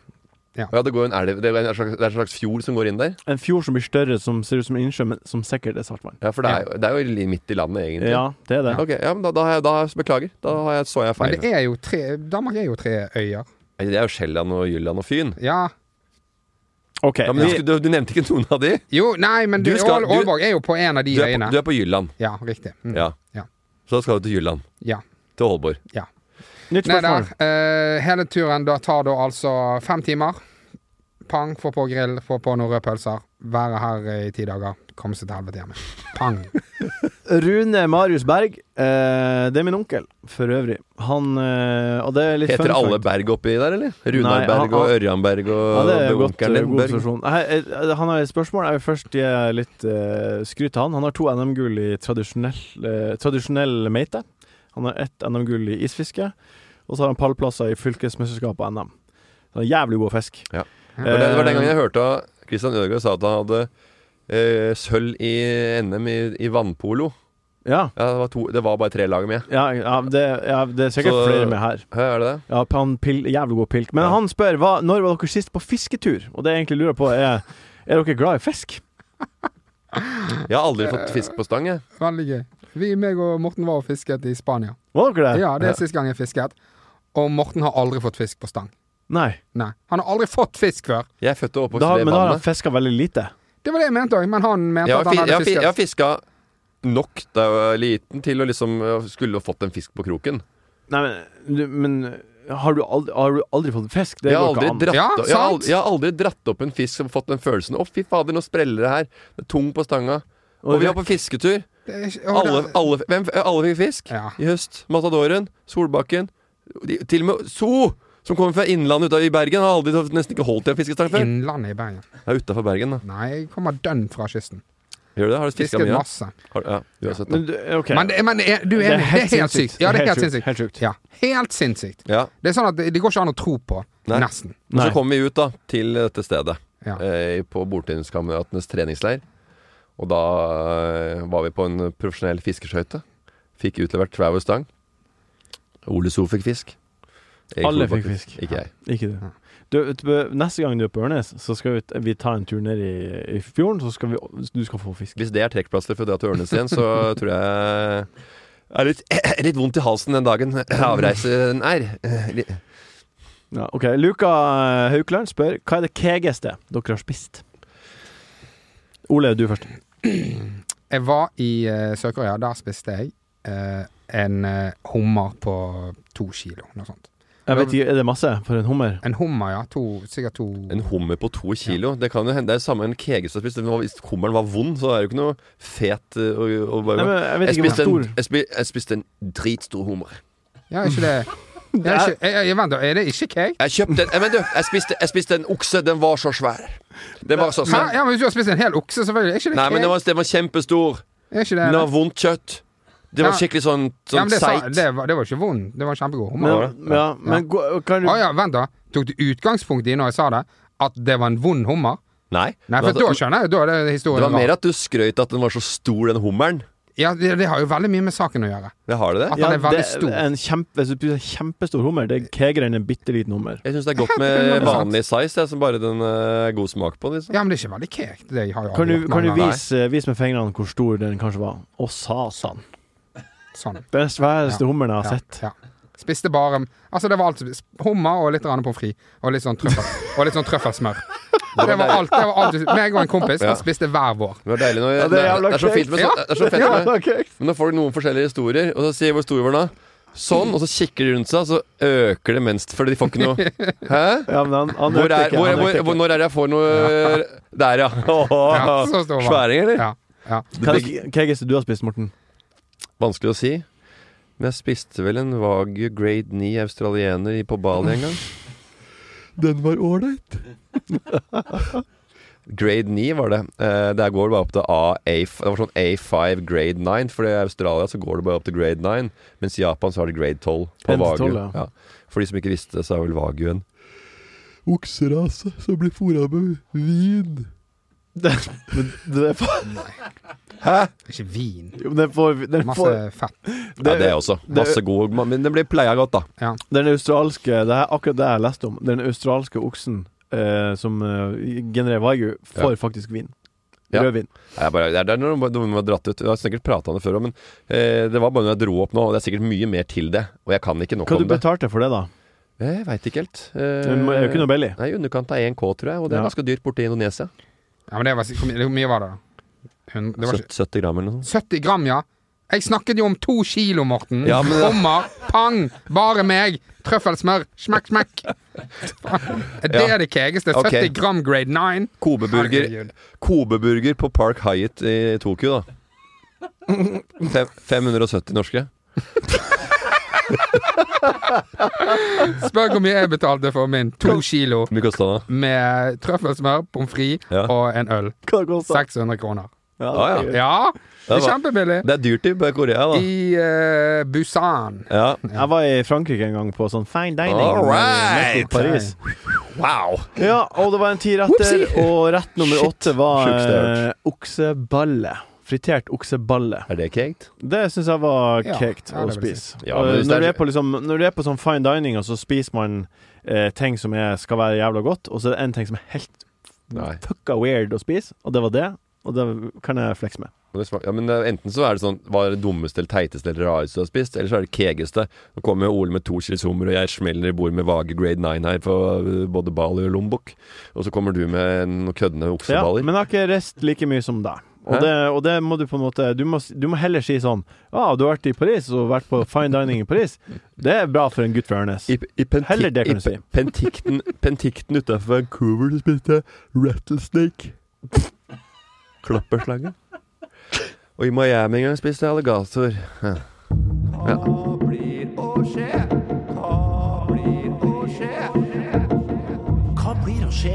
Speaker 5: Å Ja, det, går en elv, det, er en slags, det er en slags fjord som går inn der.
Speaker 2: En fjord som blir større, som ser ut som en innsjø, men som sikkert er saltvann.
Speaker 5: Ja, For det er, jo- det er jo li- midt i landet, egentlig.
Speaker 2: Ja, det er det.
Speaker 5: Ok, ja, men da, da, har jeg, da har jeg- Beklager, da har jeg, så jeg
Speaker 6: Men
Speaker 5: feil.
Speaker 6: det er jo tre Danmark er jo tre øyer.
Speaker 5: Nei, Det er jo Sjælland og Jylland og Fyn.
Speaker 6: Ja.
Speaker 2: Ok,
Speaker 5: Ja, men
Speaker 2: vi-
Speaker 5: du, skulle- du, du nevnte ikke noen av de.
Speaker 6: Jo, nei, men
Speaker 5: Du
Speaker 6: du-
Speaker 5: skal-
Speaker 6: Aal-
Speaker 5: du-
Speaker 6: Aalborg er jo på en av de
Speaker 5: Du er på,
Speaker 6: øyene.
Speaker 5: du er på Jylland.
Speaker 6: Ja, riktig. Mm.
Speaker 5: Ja.
Speaker 6: Ja.
Speaker 5: Så da skal du til Jylland.
Speaker 6: ja.
Speaker 5: Til Aalborg.
Speaker 6: ja.
Speaker 2: nytt
Speaker 6: Nei,
Speaker 2: spørsmål.
Speaker 6: der. eh, hele turen da tar da altså fem timer. Pang, få på grill, få på noen røde pølser. Være her eh, i ti dager. Komme seg til helvete hjemme. Pang.
Speaker 2: Rune Marius Berg, eh, det er min onkel for øvrig. Han eh, Og det er litt
Speaker 5: Heter
Speaker 2: fun
Speaker 5: alle
Speaker 2: fact.
Speaker 5: berg oppi der, eller?
Speaker 2: Nei, han-
Speaker 5: Runarberg og
Speaker 2: han-
Speaker 5: Ørjanberg og
Speaker 2: Ja, det er godt,
Speaker 5: onkelen din,
Speaker 2: god
Speaker 5: Berg.
Speaker 2: posisjon. Nei, eh, Han har et spørsmål. Jeg vil først gi litt eh, skryt til han. Han har to NM-gull i tradisjonell, eh, tradisjonell meite. Han har ett NM-gull i isfiske, og så har han pallplasser i fylkesmesterskapet og NM. Så han er jævlig god fisk.
Speaker 5: Ja.
Speaker 2: Eh,
Speaker 5: Det var, det, det var den gangen jeg hørte at Christian Ødegaard sa at han hadde eh, sølv i NM i, i vannpolo.
Speaker 2: ja,
Speaker 5: Ja, det, var to, det var bare tre lag med.
Speaker 2: ja, ja, det, ja, det er sikkert
Speaker 5: Så-
Speaker 2: flere med her.
Speaker 5: Hæ, er det det?
Speaker 2: Ja, han pil, jævlig god pilk. Men
Speaker 5: Ja.
Speaker 2: han spør hva, når var dere sist på fisketur? Og det jeg egentlig lurer på, er Er dere glad i fisk?
Speaker 5: Jeg har aldri fått fisk på stang, jeg.
Speaker 6: Veldig gøy. Vi, meg og Morten var og fisket i Spania.
Speaker 2: Var dere det?
Speaker 6: Ja, det er siste gang jeg fisket. Og Morten har aldri fått fisk på stang.
Speaker 2: Nei.
Speaker 6: Nei. Han har aldri fått fisk før!
Speaker 5: Jeg er født og oppvokst
Speaker 2: Da,
Speaker 5: ved
Speaker 2: men da har han
Speaker 5: vannet.
Speaker 2: fiska veldig lite.
Speaker 6: Det var det jeg mente òg, men han mente
Speaker 5: Jeg har
Speaker 6: at
Speaker 5: fi-
Speaker 6: han
Speaker 5: jeg
Speaker 6: hadde
Speaker 5: har fi-
Speaker 6: fisket.
Speaker 5: jeg har fiska nok da jeg var liten til å liksom eh, skulle fått en fisk på kroken.
Speaker 2: Nei, men, du, men har, du aldri, har du aldri fått fisk? Det
Speaker 5: Jeg har,
Speaker 2: går
Speaker 5: aldri
Speaker 2: ikke an.
Speaker 5: dratt,
Speaker 6: Ja,
Speaker 5: opp- jeg, har
Speaker 6: sant.
Speaker 5: aldri, jeg har aldri dratt opp en fisk og fått den følelsen 'Å, fy fader, nå spreller det her'. Det er tung på stanga. Og vi var på fisketur.
Speaker 6: Det er ikke- og det-
Speaker 5: Alle, alle, hvem, alle fikk fisk
Speaker 6: Ja.
Speaker 5: i høst. Matadoren, Solbakken. De, til og med So, som kommer fra innlandet utafor i Bergen, har aldri nesten ikke holdt i en fiskestang før.
Speaker 6: Innlandet i Bergen.
Speaker 5: Ja, utafor Bergen, da.
Speaker 6: Nei, jeg kommer dønn fra kysten.
Speaker 5: Gjør du det? Har du fiska
Speaker 6: Fisket
Speaker 5: mye? da?
Speaker 6: masse.
Speaker 5: Har, ja, uansett, da.
Speaker 2: Men du- ok.
Speaker 6: Men, det, men det er, du er enig, det er helt sykt. Ja, det er helt sinnssykt.
Speaker 2: Helt sjukt.
Speaker 6: Ja, helt sinnssykt.
Speaker 5: Ja.
Speaker 6: Det er sånn at det, det går ikke an å tro på.
Speaker 5: Nei.
Speaker 6: Nesten.
Speaker 5: Men
Speaker 2: Nei.
Speaker 5: så kommer vi ut da til dette stedet,
Speaker 6: Ja.
Speaker 5: eh, på Bordtenniskameratenes treningsleir. Og da eh, var vi på en profesjonell fiskeskøyte. Fikk utlevert hver vår stang. Ole So fikk fisk. Erik
Speaker 2: Alle
Speaker 5: Solbakken
Speaker 2: fikk fisk.
Speaker 5: Ikke jeg.
Speaker 2: Ikke det. Du, vet du, neste gang du er på Ørnes, så skal vi, vi ta en tur ned i, i fjorden, så skal vi, du skal få fisk.
Speaker 5: Hvis det er trekkplaster for å dra til Ørnes igjen, så tror jeg er litt, litt vondt i halsen den dagen avreisen er.
Speaker 2: Ja, ok, Luka eh, Haukeland spør hva er det kegeste dere har spist? Ole, du først.
Speaker 6: Jeg var i eh, Sør-Korea. Der spiste jeg eh, en eh, hummer på to kilo, noe sånt.
Speaker 2: Jeg vet ikke, Er det masse for en hummer?
Speaker 6: En hummer, ja. To, sikkert to
Speaker 5: En hummer på to kilo. Det kan jo hende det er samme en kege som spiste. men Hvis hummeren var vond, så er det jo ikke noe fet eh, å, å
Speaker 2: Nei,
Speaker 5: bare
Speaker 2: men jeg vet
Speaker 5: jeg
Speaker 2: ikke hvor
Speaker 5: spiste, en,
Speaker 2: stor
Speaker 5: jeg, spi, jeg spiste en dritstor hummer.
Speaker 6: Ja, er ikke det Jeg er ikke, jeg, jeg, Vent, da, er det ikke cake?
Speaker 5: Jeg kjøpte en Nei, Men du, jeg spiste, jeg spiste en okse. Den var så svær. Den var så
Speaker 6: Hæ?
Speaker 5: svær.
Speaker 6: Ja, men Hvis du har spist en hel okse, selvfølgelig. Er ikke det
Speaker 5: Nei,
Speaker 6: cake?
Speaker 5: men den var, den var kjempestor.
Speaker 6: er ikke det,
Speaker 5: Den har vondt kjøtt. Det var
Speaker 6: Ja.
Speaker 5: skikkelig sånn,
Speaker 6: ja, men
Speaker 5: sånn
Speaker 6: det, sa,
Speaker 5: seigt.
Speaker 6: det, var, det var ikke vond. Det var en kjempegod hummer.
Speaker 2: Men, ja, men gå- kan
Speaker 6: Å
Speaker 2: du
Speaker 6: ja, vent, da. Tok du utgangspunkt i når jeg sa det, at det var en vond hummer?
Speaker 5: Nei.
Speaker 6: Nei,
Speaker 5: men
Speaker 6: for da
Speaker 5: altså,
Speaker 6: skjønner jeg. Da er det historien
Speaker 5: det var
Speaker 6: rar.
Speaker 5: mer at du skrøt at den var så stor, den hummeren.
Speaker 6: Ja, det, det har jo veldig mye med saken å gjøre.
Speaker 5: Det har det det?
Speaker 6: At han er veldig
Speaker 2: det-
Speaker 6: stor.
Speaker 2: En kjempe, hvis du spiser en kjempestor hummer, det er kegere enn en bitte liten hummer.
Speaker 5: Jeg syns det er godt med
Speaker 6: 100%.
Speaker 5: vanlig size, jeg, som bare den eh, god smak på. Liksom.
Speaker 6: Ja, men det er ikke veldig kekt. Det har jo
Speaker 2: Kan
Speaker 6: aldri
Speaker 2: du,
Speaker 6: gjort
Speaker 2: kan du
Speaker 6: mange av det.
Speaker 2: vise, eh, vise med fingrene hvor stor den kanskje var? Å, satan.
Speaker 6: Sånn.
Speaker 2: Det er den sværeste
Speaker 6: Ja.
Speaker 2: hummeren jeg har
Speaker 6: Ja,
Speaker 2: sett.
Speaker 6: ja. Spiste bare Altså, det var alt hummer og litt grann pommes frites og litt sånn trøffel, og litt sånn trøffelsmør. Det var alt. det var alt Meg og en kompis
Speaker 5: Ja.
Speaker 6: spiste hver vår.
Speaker 5: Det var deilig når
Speaker 2: Ja,
Speaker 5: det,
Speaker 2: det er
Speaker 5: er
Speaker 2: jævla
Speaker 5: det er så fint med
Speaker 6: kjekt.
Speaker 5: sånn. Det er så fett med
Speaker 2: Ja, ok.
Speaker 5: Men når folk noen forskjellige historier, og så sier hvor stor var den da? Sånn, og så kikker de rundt seg, og så øker det mens Fordi de får ikke noe Hæ?
Speaker 2: Ja, men han, han
Speaker 5: Hvor
Speaker 2: økte
Speaker 5: er,
Speaker 2: ikke,
Speaker 5: hvor,
Speaker 2: han
Speaker 5: hvor,
Speaker 2: økte ikke.
Speaker 5: hvor, når er det jeg får noe Der, ja.
Speaker 6: Ja, så stor var den.
Speaker 5: Sværing, eller?
Speaker 6: Ja. ja.
Speaker 2: Hva er det kegeste du har spist, Morten?
Speaker 5: Vanskelig å si. Men jeg spiste vel en vag grade 9 australiener i- på Bali en gang.
Speaker 2: Den var ålreit.
Speaker 5: Grade 9 var det. Eh, der går det bare opp til A, A, det var sånn A5 grade 9, for i Australia så går det bare opp til grade 9, mens i Japan så har de grade 12 på
Speaker 2: En til
Speaker 5: Wagyu.
Speaker 2: 12, ja.
Speaker 5: Ja. For de som ikke visste det, så er vel Wagyu en
Speaker 2: Okserase som blir fôra med vin. Det, det, det, får-
Speaker 6: Ikke vin.
Speaker 2: jo, den får, den
Speaker 6: Masse
Speaker 2: får
Speaker 6: fett.
Speaker 5: Ja, det også. Masse god Men det blir pleia godt, da.
Speaker 6: Ja.
Speaker 2: Den australske Det er akkurat det jeg leste om. Den australske oksen eh, som eh, genererer waigu, får faktisk vin.
Speaker 5: Ja.
Speaker 2: Rødvin.
Speaker 5: Jeg bare, det er- det er noen, noen har dratt ut. Jeg har sikkert prata om det før òg, men eh, det var bare når jeg dro opp nå, og det er sikkert mye mer til det. Og jeg kan ikke nok
Speaker 2: Hva du
Speaker 5: om det.
Speaker 2: betalte for det, da?
Speaker 5: Jeg veit ikke helt. Eh,
Speaker 2: Det er jo ikke noe billig.
Speaker 5: Nei, I underkant av 1K, tror jeg, og det er
Speaker 2: Ja.
Speaker 5: ganske dyrt borte i Indonesia.
Speaker 6: ja, men det var Hvor mye- hvor mye var det, da? Hun- det var ikke,
Speaker 5: 70 gram eller noe.
Speaker 6: 70 gram, ja. Jeg snakket jo om to kilo, Morten.
Speaker 5: Ja, men-
Speaker 6: Hummer, pang, bare meg, trøffelsmør, smekk, smekk. Er Det
Speaker 5: Ja.
Speaker 6: er det kegeste. 70
Speaker 5: Ok.
Speaker 6: gram grade 9.
Speaker 5: Kobeburger,
Speaker 6: Herregud.
Speaker 5: Kobeburger på Park Hyatt i Tokyo, da. Fem- 570 norske.
Speaker 6: Spør hvor mye jeg betalte for min to kilo
Speaker 5: Hvor mye kosta den, da?
Speaker 6: med trøffelsmør, pommes frites
Speaker 5: Ja.
Speaker 6: og en øl.
Speaker 2: Hva det kosta?
Speaker 6: 600 kroner.
Speaker 5: Ah, ja.
Speaker 6: Ja, det er
Speaker 5: var-
Speaker 6: kjempebillig.
Speaker 5: Det er dyrt i Korea, da.
Speaker 6: I eh, Busan.
Speaker 5: Ja.
Speaker 2: Jeg var i Frankrike en gang på sånn fine dining.
Speaker 5: All right.
Speaker 2: i Paris.
Speaker 5: Wow!
Speaker 2: Ja, og det var en tiretter,
Speaker 6: Whoopsie.
Speaker 2: og rett nummer
Speaker 5: Shit.
Speaker 2: åtte var
Speaker 5: Sjukeste jeg har
Speaker 2: eh, okseballe. Fritert okseballe.
Speaker 5: Er det caked?
Speaker 2: Det syns jeg var
Speaker 6: Ja,
Speaker 2: kekt
Speaker 6: ja,
Speaker 2: å
Speaker 6: det vil jeg
Speaker 2: spise.
Speaker 5: Ja,
Speaker 2: Og
Speaker 5: men hvis det
Speaker 2: når,
Speaker 5: er-
Speaker 2: du er på liksom, når du er på sånn fine dining, og så spiser man eh, ting som er, skal være jævla godt, og så er det en ting som er helt
Speaker 5: Nei.
Speaker 2: fucka weird å spise, og det var det. Og det kan jeg flekse med.
Speaker 5: Og det smak- Ja, men eh, Enten så er det sånn Hva er det dummeste eller teiteste eller rareste du har spist? Eller så er det kegeste. Nå kommer jo Ole med to kilos hummer, og jeg smeller i bord med vage grade 9 her på eh, både Bali og Lombok. Og så kommer du med noen køddende
Speaker 2: Ja,
Speaker 5: okseballer.
Speaker 2: men jeg har ikke reist like mye som deg. Og
Speaker 5: Hæ?
Speaker 2: det, og det må du på en måte Du må, s- du må heller si sånn Ja, du har vært i Paris og vært på fine dining i Paris. Det er bra for en gutt fra Ørnes.
Speaker 5: I, i, Penti-
Speaker 2: Heller det kan du
Speaker 5: i
Speaker 2: si.
Speaker 5: Pe- Pentikten, pentikten utafor Vancouver så spiste jeg rattlesnake. Klapperslange. Og i Miami en gang spiste jeg alligator. Ja.
Speaker 3: Hva blir å skje? Hva blir å skje? Hva blir å skje?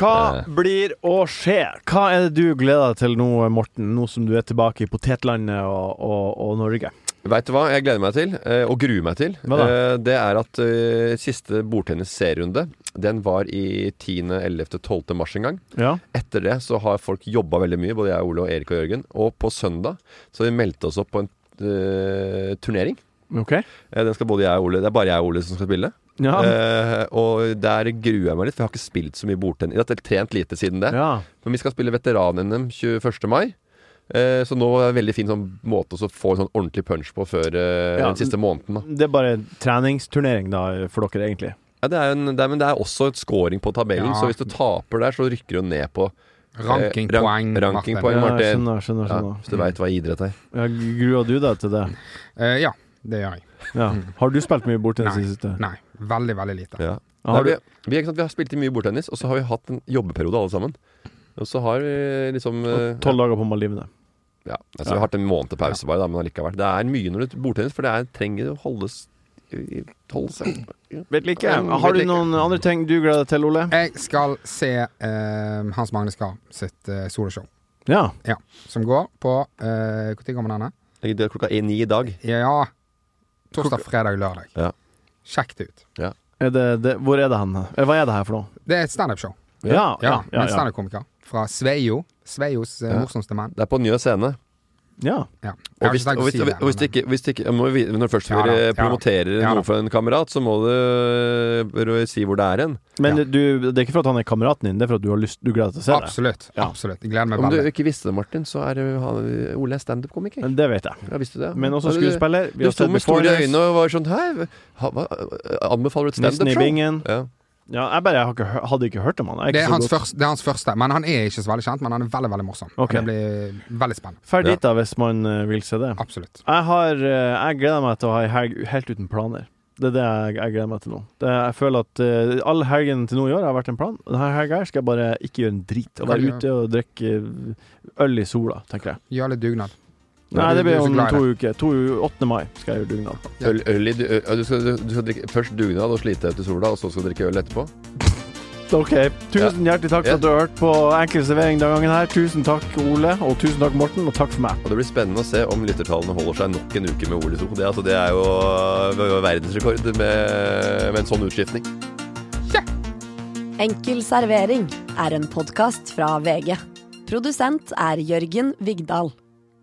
Speaker 2: Hva blir å skje? Hva er det du gleder deg til nå, Morten? Nå som du er tilbake i potetlandet og, og, og Norge.
Speaker 5: Veit du hva jeg gleder meg til, eh, og gruer meg til?
Speaker 2: Hva da?
Speaker 5: Eh, Det er at eh, siste bordtennis-serierunde, den var i 10., 11., 12. mars en gang.
Speaker 2: Ja.
Speaker 5: Etter det så har folk jobba veldig mye, både jeg, Ole og Erik og Jørgen. Og på søndag så har vi meldt oss opp på en eh, turnering.
Speaker 2: OK?
Speaker 5: Eh, Den skal både jeg og Ole Det er bare jeg og Ole som skal spille.
Speaker 2: Ja.
Speaker 5: Eh, og der gruer jeg meg litt, for jeg har ikke spilt så mye bordtennis. Jeg har trent lite siden det.
Speaker 2: ja.
Speaker 5: Men vi skal spille veteran-NM 21. mai. Eh, så nå er det en veldig fin sånn, måte å så få en sånn ordentlig punch på før eh,
Speaker 2: Ja.
Speaker 5: den siste måneden. Da.
Speaker 2: Det er bare treningsturnering da for dere, egentlig.
Speaker 5: Ja, det er en, det er, men det er også et scoring på tabellen,
Speaker 6: Ja.
Speaker 5: så hvis du taper der, så rykker du ned på eh,
Speaker 6: Rankingpoeng,
Speaker 5: rank-
Speaker 6: Martin.
Speaker 5: rankingpoeng,
Speaker 2: Ja, jeg
Speaker 5: Martin.
Speaker 2: skjønner, skjønner.
Speaker 5: Ja,
Speaker 2: skjønner.
Speaker 5: hvis du veit hva idrett er.
Speaker 2: Ja, gruer du deg til det?
Speaker 6: Eh, ja, det gjør jeg.
Speaker 2: Ja. Har du spilt mye bordtennis i
Speaker 6: Nei,
Speaker 2: det siste?
Speaker 6: nei, veldig, veldig lite.
Speaker 5: Ja.
Speaker 2: Ja, har
Speaker 5: Nei, vi, vi, ikke sant, vi har spilt i mye bordtennis, og så har vi hatt en jobbeperiode alle sammen. Og så har vi liksom eh,
Speaker 2: Tolv dager på Maldivene.
Speaker 5: Ja, altså Vi har hatt en måned til pause bare, da, men allikevel. Det er mye når du bordtennis, for det er, trenger å holdes i- holde seg
Speaker 2: Vet ikke.
Speaker 5: Ja,
Speaker 2: Har du
Speaker 5: vet ikke.
Speaker 2: noen andre ting du gleder deg til, Ole?
Speaker 6: Jeg skal se eh, Hans Magne Skar sitt eh, soloshow.
Speaker 2: Ja.
Speaker 6: Ja. Som går på eh, Når kommer denne?
Speaker 5: Det er klokka er ni i dag.
Speaker 6: Ja Torsdag, fredag, lørdag.
Speaker 5: Ja.
Speaker 6: Sjekk det ut.
Speaker 2: Er det, det, hvor er det hen? Eh, Hva er det her for noe?
Speaker 6: Det er et standup-show.
Speaker 2: Ja,
Speaker 6: Ja,
Speaker 2: ja,
Speaker 6: med
Speaker 2: ja,
Speaker 6: en
Speaker 2: ja.
Speaker 6: standup-komiker fra Sveio. Sveios eh,
Speaker 5: Ja.
Speaker 6: morsomste mann.
Speaker 5: Det er på Njø scene.
Speaker 2: Ja.
Speaker 6: Jeg
Speaker 5: Og
Speaker 6: har
Speaker 5: hvis,
Speaker 6: ikke tenkt
Speaker 5: og
Speaker 6: å
Speaker 5: hvis,
Speaker 6: si det.
Speaker 5: og hvis det ikke, hvis det ikke jeg må jo vite- Når du først eh,
Speaker 6: Ja da, ja da,
Speaker 5: promoterer
Speaker 6: ja da.
Speaker 5: noe for en kamerat, så må du øh, si hvor det er hen.
Speaker 2: Men du, det er ikke for at han er kameraten din, det er for at du, har lyst, du gleder deg til å se
Speaker 6: Absolutt. absolutt. Jeg gleder meg
Speaker 5: Om du
Speaker 6: veldig.
Speaker 5: ikke visste det, Martin, så er øh, han- Ole er standup-komiker.
Speaker 2: det. Det vet jeg.
Speaker 5: Ja, visste du det?
Speaker 2: Men også
Speaker 5: Ja, du-
Speaker 2: skuespiller. Vi
Speaker 5: Du
Speaker 2: har
Speaker 5: sto
Speaker 2: sett
Speaker 5: med store
Speaker 2: Before Us,
Speaker 5: øyne og var sånn Hei, ha, hva, eh, anbefaler du et
Speaker 2: Nissen i
Speaker 5: standup-show?
Speaker 2: bingen.
Speaker 5: Ja.
Speaker 2: Ja, jeg bare har ikke, hø- hadde ikke hørt om han. Jeg er
Speaker 6: Det
Speaker 2: ikke
Speaker 6: er,
Speaker 2: så
Speaker 6: hans
Speaker 2: godt-
Speaker 6: første, det er hans første, men han er ikke så veldig kjent. Men han er veldig veldig morsom.
Speaker 2: Ok.
Speaker 6: Det blir veldig spennende.
Speaker 2: Ferd dit, da, hvis man eh, vil se det.
Speaker 6: Absolutt.
Speaker 2: Jeg, har, eh, jeg gleder meg til å ha ei helg helt uten planer. Det er det jeg, jeg gleder meg til nå. Det, jeg føler at eh, all helgen til nå i år har vært en plan. Denne helga her skal jeg bare ikke gjøre en drit. Og
Speaker 6: Hva
Speaker 2: være
Speaker 6: gjør-
Speaker 2: ute og drikke eh, øl i sola, tenker jeg.
Speaker 6: Gjør litt dugnad.
Speaker 2: Nei, det
Speaker 6: du- du er
Speaker 2: blir
Speaker 6: så
Speaker 2: om
Speaker 6: glad i
Speaker 2: to uker. To, 8. mai skal jeg gjøre dugnad.
Speaker 5: Øl, øl i, du, ø- du, skal, du, du skal drikke først dugnad og slite deg ut i sola, og så skal du drikke øl etterpå?
Speaker 2: Ok, Tusen hjertelig takk for at du har hørt på Enkel servering denne gangen. her Tusen takk, Ole, og tusen takk, Morten, og takk for meg.
Speaker 5: Og Det blir spennende å se om lyttertallene holder seg nok en uke med Ole So. Det, altså, det er jo øh, verdensrekord med, med en sånn utskiftning.
Speaker 1: Enkel servering er en podkast fra VG. Produsent er Jørgen Vigdal.